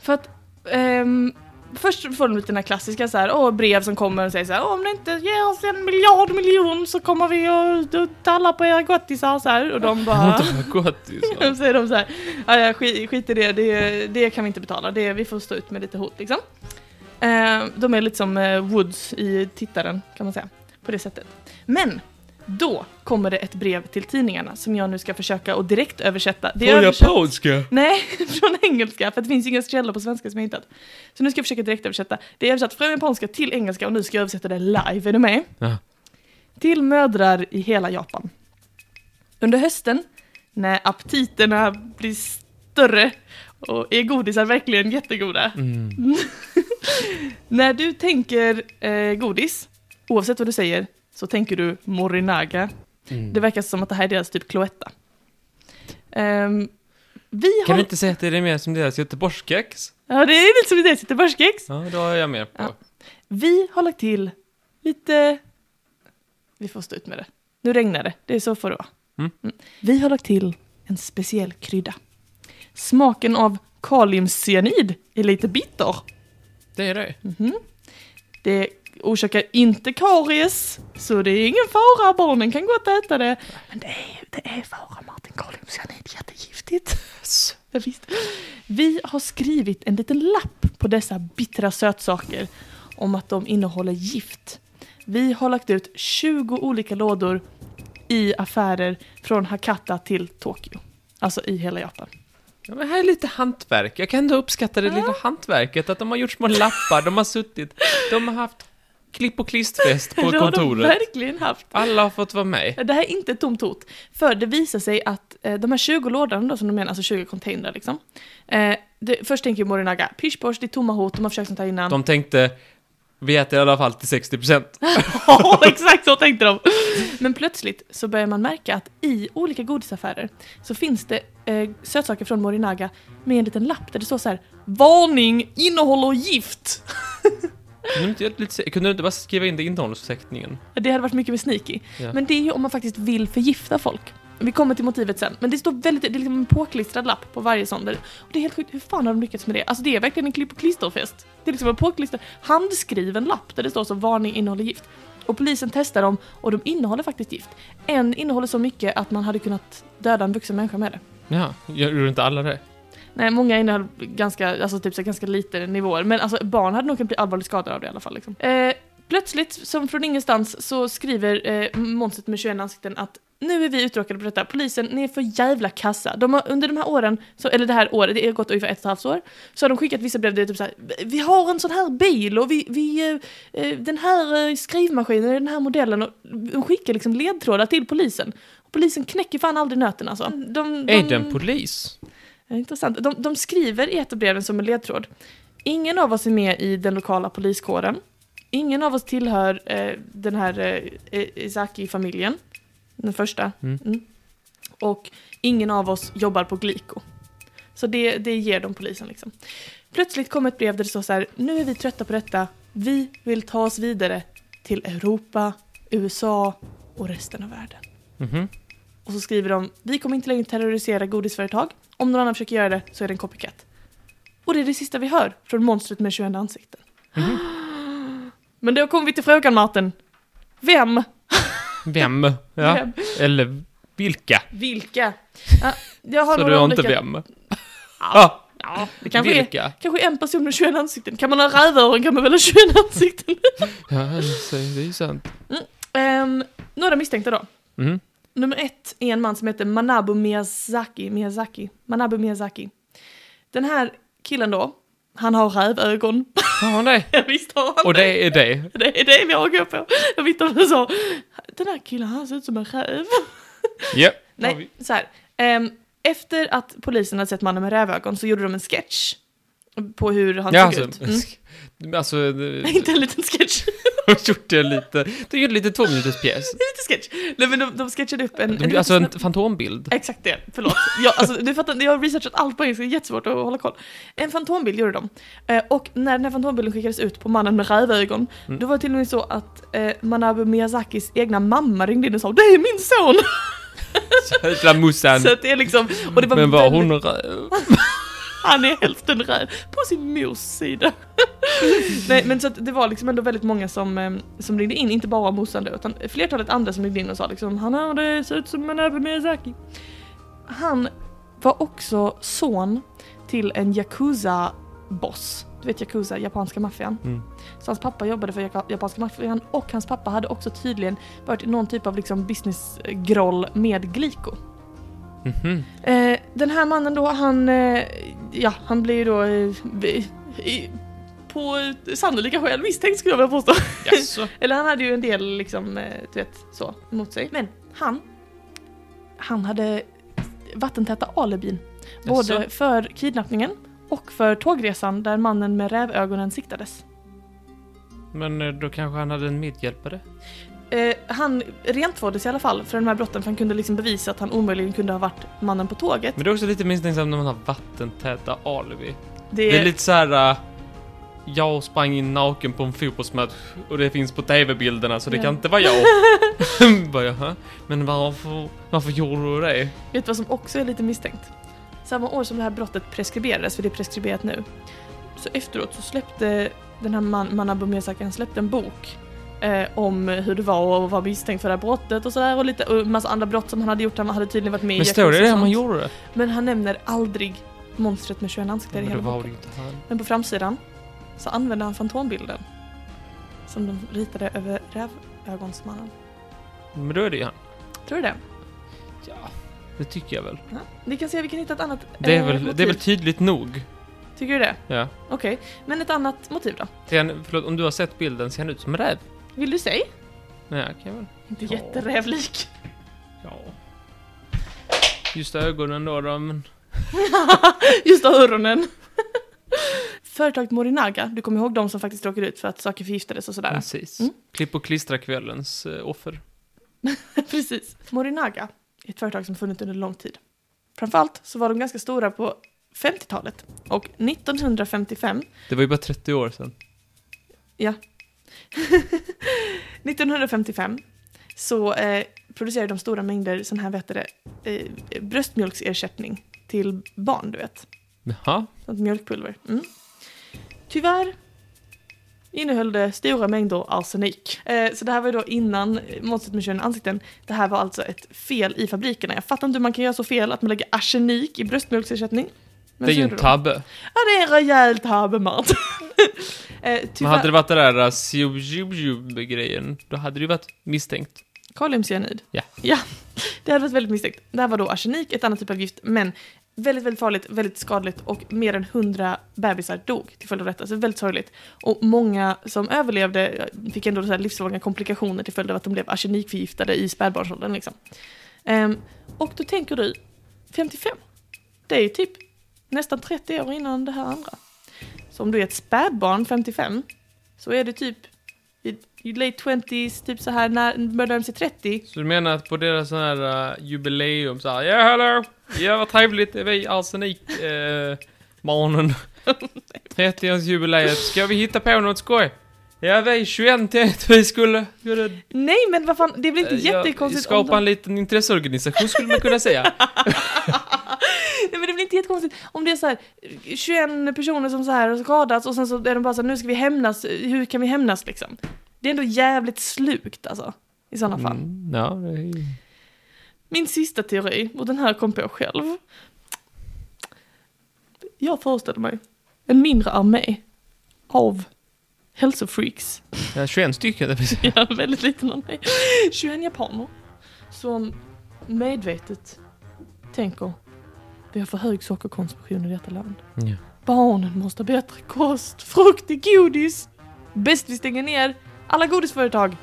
[SPEAKER 1] För att ehm, först får de lite den här klassiska så här, åh, brev som kommer och säger så här, "Åh, om ni inte ger oss en miljard miljon så kommer vi att att talla på era gottisar så här. Och de bara...
[SPEAKER 2] Inte har gått i så.
[SPEAKER 1] Då säger de så här, "Ja, ja, skit, skit i det, det, det kan vi inte betala, det, vi får stå ut med lite hot liksom. Eh, de är lite som eh, Woods i Tittaren kan man säga, på det sättet. Men då kommer det ett brev till tidningarna som jag nu ska försöka att direkt översätta. Det är
[SPEAKER 2] På
[SPEAKER 1] översatt-
[SPEAKER 2] japanska?
[SPEAKER 1] Nej, från engelska, för det finns ju inga källor på svenska som jag hittat. Så nu ska jag försöka direkt översätta. Det är översatt från japanska till engelska och nu ska jag översätta det live, är du med?
[SPEAKER 2] Ja.
[SPEAKER 1] Till mödrar i hela Japan. Under hösten, när aptiterna blir större och är godisar verkligen jättegoda.
[SPEAKER 2] Mm.
[SPEAKER 1] När du tänker eh, godis, oavsett vad du säger, så tänker du Morinaga.
[SPEAKER 2] Mm.
[SPEAKER 1] Det verkar som att det här är deras typ Cloetta. Ehm, vi
[SPEAKER 2] Kan
[SPEAKER 1] har...
[SPEAKER 2] du inte säga att det är mer som deras göteborgskex?
[SPEAKER 1] Ja, det är lite som det sitter börskex.
[SPEAKER 2] Ja, då är jag med på.
[SPEAKER 1] Ja. Vi har lagt till lite... Vi får stå ut med det. Nu regnar det, det är så får det vara.
[SPEAKER 2] Mm.
[SPEAKER 1] Vi har lagt till en speciell krydda. Smaken av kaliumcyanid är lite bitter.
[SPEAKER 2] Det är det.
[SPEAKER 1] Mhm. Det orsakar inte karies, så det är ingen fara, barnen kan gott äta det. Men det är, det är fara, Martin. Kaliumcyanid är jättegiftigt. Ja, visst. Vi har skrivit en liten lapp på dessa bittra sötsaker om att de innehåller gift. Vi har lagt ut 20 olika lådor i affärer från Hakata till Tokyo. Alltså i hela Japan.
[SPEAKER 2] Ja, men här är lite hantverk. Jag kan ändå uppskatta det lilla hantverket. Att de har gjort små lappar, de har suttit, de har haft klipp och klistfest på
[SPEAKER 1] det har de
[SPEAKER 2] kontoret.
[SPEAKER 1] verkligen haft.
[SPEAKER 2] Alla har fått vara med.
[SPEAKER 1] Det här är inte ett tomt hot. För det visar sig att eh, de här 20 lådorna då, som de menar, alltså 20 containrar liksom. Eh, det, först tänker ju Morinaga, pysch det är tomma hot, de har försökt sånt här innan.
[SPEAKER 2] De tänkte, vi äter i alla fall till 60%.
[SPEAKER 1] Ja, exakt så tänkte de. Men plötsligt så börjar man märka att i olika godisaffärer så finns det eh, sötsaker från Morinaga med en liten lapp där det står så här Varning innehåller gift!
[SPEAKER 2] Kunde du inte, göra lite, kunde du inte bara skriva in det i innehållsförteckningen?
[SPEAKER 1] Det hade varit mycket mer sneaky.
[SPEAKER 2] Ja.
[SPEAKER 1] Men det är ju om man faktiskt vill förgifta folk. Vi kommer till motivet sen. Men det står väldigt, det är liksom en påklistrad lapp på varje sån där. Och det är helt sjukt, hur fan har de lyckats med det? Alltså det är verkligen en klipp och klisterfest. Det är liksom en påklistrad, handskriven lapp där det står så varning innehåller gift. Och polisen testar dem och de innehåller faktiskt gift. En innehåller så mycket att man hade kunnat döda en vuxen människa med det.
[SPEAKER 2] Ja, gjorde inte alla det?
[SPEAKER 1] Nej, många innehöll ganska, alltså typ så här ganska lite nivåer. Men alltså barn hade nog kunnat bli allvarligt skadade av det i alla fall. Liksom. Eh, plötsligt, som från ingenstans, så skriver eh, monstret med 21 ansikten att nu är vi uttråkade på detta. Polisen, ni är för jävla kassa. De har, under de här åren, så, eller det här året, det har gått ungefär ett och ett halvt år, så har de skickat vissa brev där det är typ så här, vi har en sån här bil och vi, vi eh, eh, den här eh, skrivmaskinen, den här modellen och de skickar liksom ledtrådar till polisen. Och polisen knäcker fan aldrig nöten alltså. De, de,
[SPEAKER 2] Är det en polis?
[SPEAKER 1] Ja, Intressant. De, de skriver i ett av breven som en ledtråd. Ingen av oss är med i den lokala poliskåren. Ingen av oss tillhör eh, den här eh, Isaki-familjen. Den första.
[SPEAKER 2] Mm.
[SPEAKER 1] Och ingen av oss jobbar på Glico. Så det, det ger de polisen liksom. Plötsligt kom ett brev där det står så här, nu är vi trötta på detta. Vi vill ta oss vidare till Europa, USA och resten av världen.
[SPEAKER 2] Mhm.
[SPEAKER 1] Och så skriver de Vi kommer inte längre terrorisera godisföretag. Om någon annan försöker göra det så är det en copycat. Och det är det sista vi hör från monstret med 21 ansikten.
[SPEAKER 2] Mm-hmm.
[SPEAKER 1] Men då kommer vi till frågan Martin. Vem?
[SPEAKER 2] Vem? Ja.
[SPEAKER 1] Vem?
[SPEAKER 2] Eller vilka?
[SPEAKER 1] Vilka? Ja, jag har
[SPEAKER 2] Så
[SPEAKER 1] några
[SPEAKER 2] du har
[SPEAKER 1] olika.
[SPEAKER 2] inte vem?
[SPEAKER 1] Ja.
[SPEAKER 2] Ja.
[SPEAKER 1] Ja, det kanske är,
[SPEAKER 2] vilka?
[SPEAKER 1] kanske är en person med 21 ansikten. Kan man ha rävöron kan man väl ha 21 ansikten.
[SPEAKER 2] Ja, alltså, det är ju sant.
[SPEAKER 1] Ehm, några misstänkta då.
[SPEAKER 2] Mhm.
[SPEAKER 1] Nummer ett är en man som heter Manabu Miyazaki. Miyazaki. Manabu Miyazaki. Den här killen då, han har rävögon.
[SPEAKER 2] Har hon det?
[SPEAKER 1] Ja, Visst har han
[SPEAKER 2] Och det är det?
[SPEAKER 1] det? Det är det vi har att gå på. Jag vet inte om du sa, den här killen han ser ut som en räv.
[SPEAKER 2] Ja. Har vi-
[SPEAKER 1] Nej, så här. Ehm, efter att polisen hade sett mannen med rävögon så gjorde de en sketch på hur han
[SPEAKER 2] Ja,
[SPEAKER 1] såg
[SPEAKER 2] alltså,
[SPEAKER 1] ut. Mm.
[SPEAKER 2] alltså det-
[SPEAKER 1] Inte en liten sketch.
[SPEAKER 2] de gjorde lite, de gjorde lite tvåminuterspjäs.
[SPEAKER 1] Lite sketch. Nej, men de, de sketchade upp en... en
[SPEAKER 2] De, alltså en
[SPEAKER 1] liten-
[SPEAKER 2] fantombild.
[SPEAKER 1] Exakt det, förlåt. Jag, alltså, du fattar, inte, jag har researchat allt på engelska, det är jättesvårt att hålla koll. En fantombild gjorde de. Eh, och när den här fantombilden skickades ut på mannen med rävögon,
[SPEAKER 2] Mm.
[SPEAKER 1] då var det till och med så att eh, Manabu Miyazakis egna mamma ringde in och sa Det är min son!
[SPEAKER 2] Jävla Musan.
[SPEAKER 1] Så att det är liksom, och det var
[SPEAKER 2] Men var
[SPEAKER 1] väldigt-
[SPEAKER 2] hon röv?
[SPEAKER 1] Han är hälften räv, på sin mors sida. Nej men så att det var liksom ändå väldigt många som, eh, som ringde in, inte bara morsan då, utan flertalet andra som ringde in och sa liksom Han har det ser ut som Manabu Miyazaki. Han var också son till en Yakuza-boss. Du vet Yakuza, japanska maffian.
[SPEAKER 2] Mm.
[SPEAKER 1] Så hans pappa jobbade för jaka- japanska maffian och hans pappa hade också tydligen varit i någon typ av liksom business-groll med Glico.
[SPEAKER 2] Mhm.
[SPEAKER 1] Eh, den här mannen då, han, eh, ja, han blir ju då eh, vi- i, på eh, sannolika skäl misstänkt skulle jag vilja påstå.
[SPEAKER 2] Jaså?
[SPEAKER 1] Eller han hade ju en del liksom, eh, du vet, så, mot sig. Men han, han hade vattentäta alibin. Både
[SPEAKER 2] Jaså?
[SPEAKER 1] för kidnappningen och för tågresan där mannen med rävögonen siktades.
[SPEAKER 2] Men eh, då kanske han hade en medhjälpare?
[SPEAKER 1] Eh, han rentvåddes i alla fall för de här brotten för han kunde liksom bevisa att han omöjligen kunde ha varit mannen på tåget.
[SPEAKER 2] Men det är också lite misstänksamt när man har vattentäta alibi. Det är lite så här. äh, Jag sprang in naken på en fotbollsmatch och det finns på tv-bilderna så det
[SPEAKER 1] Ja.
[SPEAKER 2] kan inte vara jag. Bara, jaha. Men varför, varför gjorde du det?
[SPEAKER 1] Vet du vad som också är lite misstänkt? Samma år som det här brottet preskriberades, för det är preskriberat nu, så efteråt så släppte den här man, Manabu Miyazaki, han släppte en bok eh, om hur det var att vara misstänkt för det här brottet och sådär och lite och massa andra brott som han hade gjort, han hade tydligen varit med
[SPEAKER 2] Men
[SPEAKER 1] i
[SPEAKER 2] står det
[SPEAKER 1] Yakuza och
[SPEAKER 2] det man
[SPEAKER 1] sånt.
[SPEAKER 2] gjorde det?
[SPEAKER 1] Men han nämner aldrig monstret med 21 ansikten i
[SPEAKER 2] Men det
[SPEAKER 1] hela
[SPEAKER 2] var
[SPEAKER 1] boken.
[SPEAKER 2] det ju inte han.
[SPEAKER 1] Men på framsidan så använder han fantombilden som de ritade över rävögonsmannen.
[SPEAKER 2] Men då är det ju han.
[SPEAKER 1] Tror du det?
[SPEAKER 2] Ja, det tycker jag väl.
[SPEAKER 1] Ja. Ni kan se, vi kan hitta ett annat
[SPEAKER 2] Det är
[SPEAKER 1] eh,
[SPEAKER 2] väl, det är
[SPEAKER 1] motiv.
[SPEAKER 2] väl typ- tydligt nog.
[SPEAKER 1] Tycker du det?
[SPEAKER 2] Ja.
[SPEAKER 1] Okej, men ett annat motiv då?
[SPEAKER 2] Ser han, förlåt, om du har sett bilden, ser han ut som en räv?
[SPEAKER 1] Vill du säga?
[SPEAKER 2] Ja, kan jag väl.
[SPEAKER 1] Inte
[SPEAKER 2] Ja.
[SPEAKER 1] jätterävlik.
[SPEAKER 2] Ja. Just ögonen då, då men...
[SPEAKER 1] Just öronen. Företaget Morinaga, du kommer ihåg de som faktiskt råkade ut för att saker förgiftades och sådär?
[SPEAKER 2] Precis.
[SPEAKER 1] Mm.
[SPEAKER 2] Klipp och klistra kvällens eh, offer.
[SPEAKER 1] Precis. Morinaga är ett företag som funnits under lång tid. Framförallt så var de ganska stora på 50-talet och 1955
[SPEAKER 2] Det var ju bara 30 år sedan.
[SPEAKER 1] 1955 så eh, producerade de stora mängder sån här, vet du det, eh, bröstmjölksersättning till barn, du vet.
[SPEAKER 2] Jaha.
[SPEAKER 1] Sånt mjölkpulver. Mm. Tyvärr innehöll det stora mängder arsenik. Eh, så det här var ju då innan eh, monstret med 21 ansikten. Det här var alltså ett fel i fabrikerna. Jag fattar inte hur man kan göra så fel att man lägger arsenik i bröstmjölksersättning. Men
[SPEAKER 2] det är
[SPEAKER 1] så
[SPEAKER 2] ju
[SPEAKER 1] gjorde
[SPEAKER 2] en
[SPEAKER 1] de.
[SPEAKER 2] tabbe.
[SPEAKER 1] Ja, det är en rejäl tabbe, Mart. eh,
[SPEAKER 2] Men hade det
[SPEAKER 1] tyvärr.
[SPEAKER 2] varit det där siu-ju-ju-grejen, då hade det ju varit misstänkt.
[SPEAKER 1] Kaliumcyanid.
[SPEAKER 2] Ja.
[SPEAKER 1] ja. Det hade varit väldigt misstänkt. Det här var då arsenik, ett annat typ av gift, men väldigt, väldigt farligt, väldigt skadligt och mer än 100 bebisar dog till följd av detta. Så väldigt sorgligt. Och många som överlevde fick ändå så här livslånga komplikationer till följd av att de blev arsenikförgiftade i spädbarnsåldern. Liksom. Ehm, och då tänker du, 55, det är ju typ nästan 30 år innan det här andra. Så om du är ett spädbarn 55 så är det typ i, i late 20s, typ så här när börjar närma sig 30
[SPEAKER 2] Så du menar att på deras sån här eh, jubileum så här, ja hallå, ja vad trevligt, det är vi eh, arsenikmannen. 30-årsjubileet, ska vi hitta på något skoj? Ja vi 21 tänkte vi skulle, skulle
[SPEAKER 1] Nej men vad fan, det blir inte
[SPEAKER 2] eh, ja,
[SPEAKER 1] jättekonstigt om
[SPEAKER 2] skapa
[SPEAKER 1] de...
[SPEAKER 2] en liten intresseorganisation skulle man kunna säga.
[SPEAKER 1] Nej, men det blir inte jättekonstigt om det är så här eh, 21 personer som så här har skadats och sen så är de bara så här, nu ska vi hämnas, eh, hur kan vi hämnas liksom? Det är ändå jävligt slukt alltså, i sådana fall.
[SPEAKER 2] Mm, ja, det är ju-
[SPEAKER 1] Min sista teori, och den här kom på själv. Jag föreställer mig en mindre armé av hälsofreaks
[SPEAKER 2] ja, 21 stycken, det finns-
[SPEAKER 1] Ja, väldigt liten av mig. 21 japaner som medvetet tänker vi har för hög sockerkonsumtion i detta land.
[SPEAKER 2] ja.
[SPEAKER 1] Barnen måste ha bättre kost, frukt och godis. Bäst vi stänger ner alla godisföretag.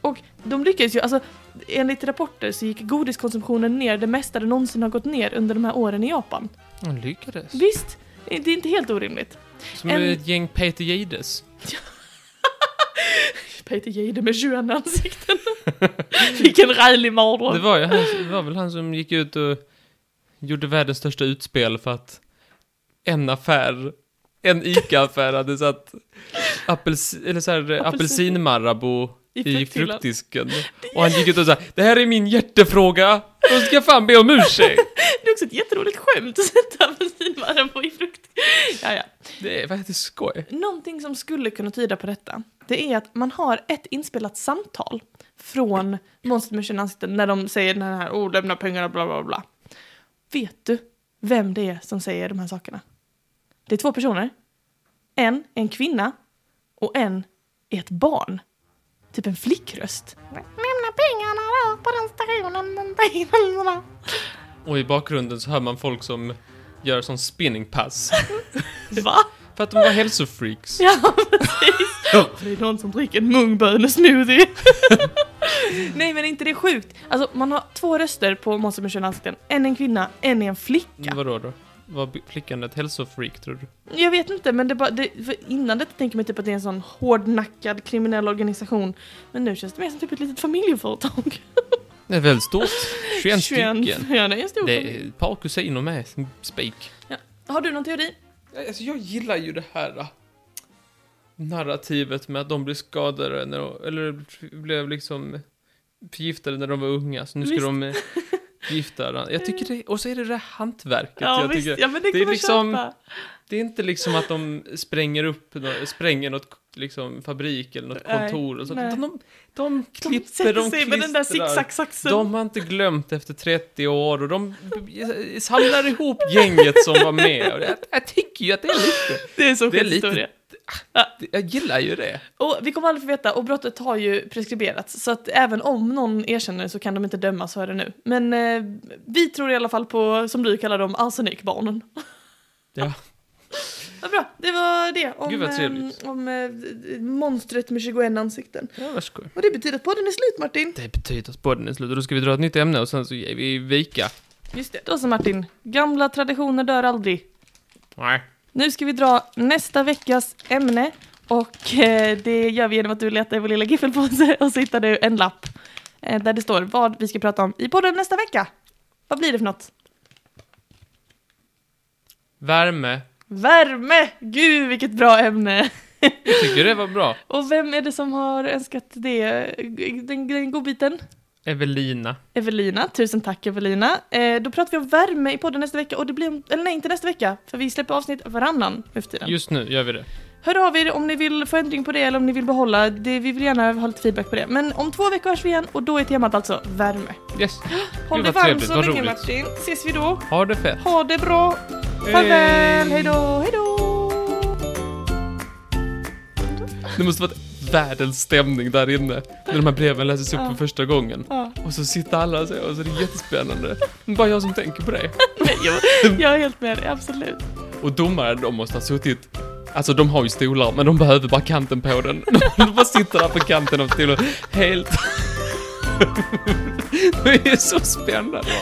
[SPEAKER 1] Och de lyckades ju, alltså enligt rapporter så gick godiskonsumtionen ner det mesta det någonsin har gått ner under de här åren i Japan.
[SPEAKER 2] De lyckades.
[SPEAKER 1] Visst, det är inte helt orimligt.
[SPEAKER 2] Som
[SPEAKER 1] en-
[SPEAKER 2] ett gäng Peter Jihdes.
[SPEAKER 1] Peter Jihde med 21 ansikten. Vilken rälig
[SPEAKER 2] Det
[SPEAKER 1] mardröm.
[SPEAKER 2] var, ju, han, det var väl han som gick ut och gjorde världens största utspel för att en affär, en ICA-affär hade satt apelsi, eller så här, eh, apelsinmarabou
[SPEAKER 1] I
[SPEAKER 2] i
[SPEAKER 1] fruktyllan.
[SPEAKER 2] fruktdisken. Och han gick ut och sa det här är min hjärtefråga, då ska jag fan be om ursäkt.
[SPEAKER 1] Det är också ett jätteroligt skämt att sätta apelsinvatten på i frukt. Ja, ja.
[SPEAKER 2] Det är faktiskt skoj.
[SPEAKER 1] Någonting som skulle kunna tyda på detta, det är att man har ett inspelat samtal från monstret med 21 ansikten när de säger den här oh, lämna pengarna, bla bla bla. Vet du vem det är som säger de här sakerna? Det är två personer. En är en kvinna och en är ett barn. Typ en flickröst.
[SPEAKER 4] Lämna pengarna där på den stationen den tiden.
[SPEAKER 2] Och i bakgrunden så hör man folk som gör sån spinningpass.
[SPEAKER 1] Va?
[SPEAKER 2] För att de var hälsofreaks.
[SPEAKER 1] Ja, precis. För det är någon som dricker en mungbönesmoothie. Nej, men är inte det sjukt? Alltså, man har två röster på Monster med 21 ansikten. En är en kvinna, en är en flicka.
[SPEAKER 2] Vadå då? Var b- flickan ett hälsofreak tror du?
[SPEAKER 1] Jag vet inte, men det bara, det, för innan detta tänker man typ att det är en sån hårdnackad kriminell organisation. Men nu känns det mer som typ ett litet familjeföretag.
[SPEAKER 2] Det är väldigt stort. 21 stycken.
[SPEAKER 1] Ja, det är en stor
[SPEAKER 2] Det
[SPEAKER 1] familj.
[SPEAKER 2] är ett par kusiner med, som spik.
[SPEAKER 1] Har du någon teori?
[SPEAKER 2] Alltså jag gillar ju det här äh, narrativet med att de blev skadade när de, eller blev liksom förgiftade när de var unga, så nu ska
[SPEAKER 1] Visst.
[SPEAKER 2] de eh, gifta varandra. Jag tycker det, och så är det det här hantverket.
[SPEAKER 1] Ja,
[SPEAKER 2] jag
[SPEAKER 1] visst.
[SPEAKER 2] tycker,
[SPEAKER 1] Ja, men det,
[SPEAKER 2] det är
[SPEAKER 1] kan man
[SPEAKER 2] liksom-
[SPEAKER 1] köpa.
[SPEAKER 2] det är inte liksom att de spränger upp, nå- spränger något liksom fabrik eller något
[SPEAKER 1] Nej,
[SPEAKER 2] kontor och så.
[SPEAKER 1] nej.
[SPEAKER 2] utan De, de
[SPEAKER 1] De
[SPEAKER 2] klipper,
[SPEAKER 1] sätter
[SPEAKER 2] de,
[SPEAKER 1] sig med den där
[SPEAKER 2] klistrar.
[SPEAKER 1] zigzag-saxen.
[SPEAKER 2] De har inte glömt efter 30 år och de b- samlar ihop gänget som var med. Och Jag, jag tycker ju att det är lite...
[SPEAKER 1] Det är så
[SPEAKER 2] Det är
[SPEAKER 1] sjukt
[SPEAKER 2] lite-
[SPEAKER 1] historia.
[SPEAKER 2] Jag gillar ju det.
[SPEAKER 1] Och vi kommer aldrig få veta, och brottet har ju preskriberats, så att även om någon erkänner så kan de inte dömas för det nu. Men eh, vi tror i alla fall på, som du kallar dem, arsenikbarnen.
[SPEAKER 2] Ja.
[SPEAKER 1] Vad bra, det var det om,
[SPEAKER 2] Gud, vad trevligt.
[SPEAKER 1] eh, om eh, monstret med 21 ansikten.
[SPEAKER 2] Ja, varsågod.
[SPEAKER 1] Och det betyder att podden är slut Martin.
[SPEAKER 2] Det betyder att podden är slut och då ska vi dra ett nytt ämne och sen så ger vi vika.
[SPEAKER 1] Just det. Då så Martin, gamla traditioner dör aldrig.
[SPEAKER 2] Nej.
[SPEAKER 1] Nu ska vi dra nästa veckas ämne och eh, det gör vi genom att du letar i vår lilla giffelpåse och så hittar du en lapp eh, där det står vad vi ska prata om i podden nästa vecka. Vad blir det för något?
[SPEAKER 2] Värme.
[SPEAKER 1] Värme! Gud vilket bra ämne!
[SPEAKER 2] Jag tycker det var bra.
[SPEAKER 1] Och vem är det som har önskat det? Den, den godbiten?
[SPEAKER 2] Evelina.
[SPEAKER 1] Evelina, tusen tack Evelina. Eh, då pratar vi om värme i podden nästa vecka och det blir om, eller nej inte nästa vecka, för vi släpper avsnitt varannan nu för tiden.
[SPEAKER 2] Just nu gör vi det.
[SPEAKER 1] Hör av er om ni vill få ändring på det eller om ni vill behålla det. Vi vill gärna ha lite feedback på det. Men om två veckor hörs vi igen och då är temat alltså värme.
[SPEAKER 2] Yes.
[SPEAKER 1] Håll
[SPEAKER 2] Gud,
[SPEAKER 1] dig
[SPEAKER 2] vad
[SPEAKER 1] varm
[SPEAKER 2] trevligt,
[SPEAKER 1] så
[SPEAKER 2] vad
[SPEAKER 1] länge
[SPEAKER 2] roligt.
[SPEAKER 1] Martin. Ses vi då.
[SPEAKER 2] Ha det fett.
[SPEAKER 1] Ha det bra. Farväl. Hej då. Hej då.
[SPEAKER 2] Det måste varit världens stämning där inne. När de här breven läses upp
[SPEAKER 1] Ja.
[SPEAKER 2] för första gången.
[SPEAKER 1] Ja.
[SPEAKER 2] Och så sitter alla så och så är det jättespännande. Det är bara jag som tänker på det.
[SPEAKER 1] Nej, jag, jag är helt med dig, absolut.
[SPEAKER 2] Och domaren, de måste ha suttit... Alltså de har ju stolar, men de behöver bara kanten på den. De bara sitter där på kanten av stolen, helt... Det är så spännande.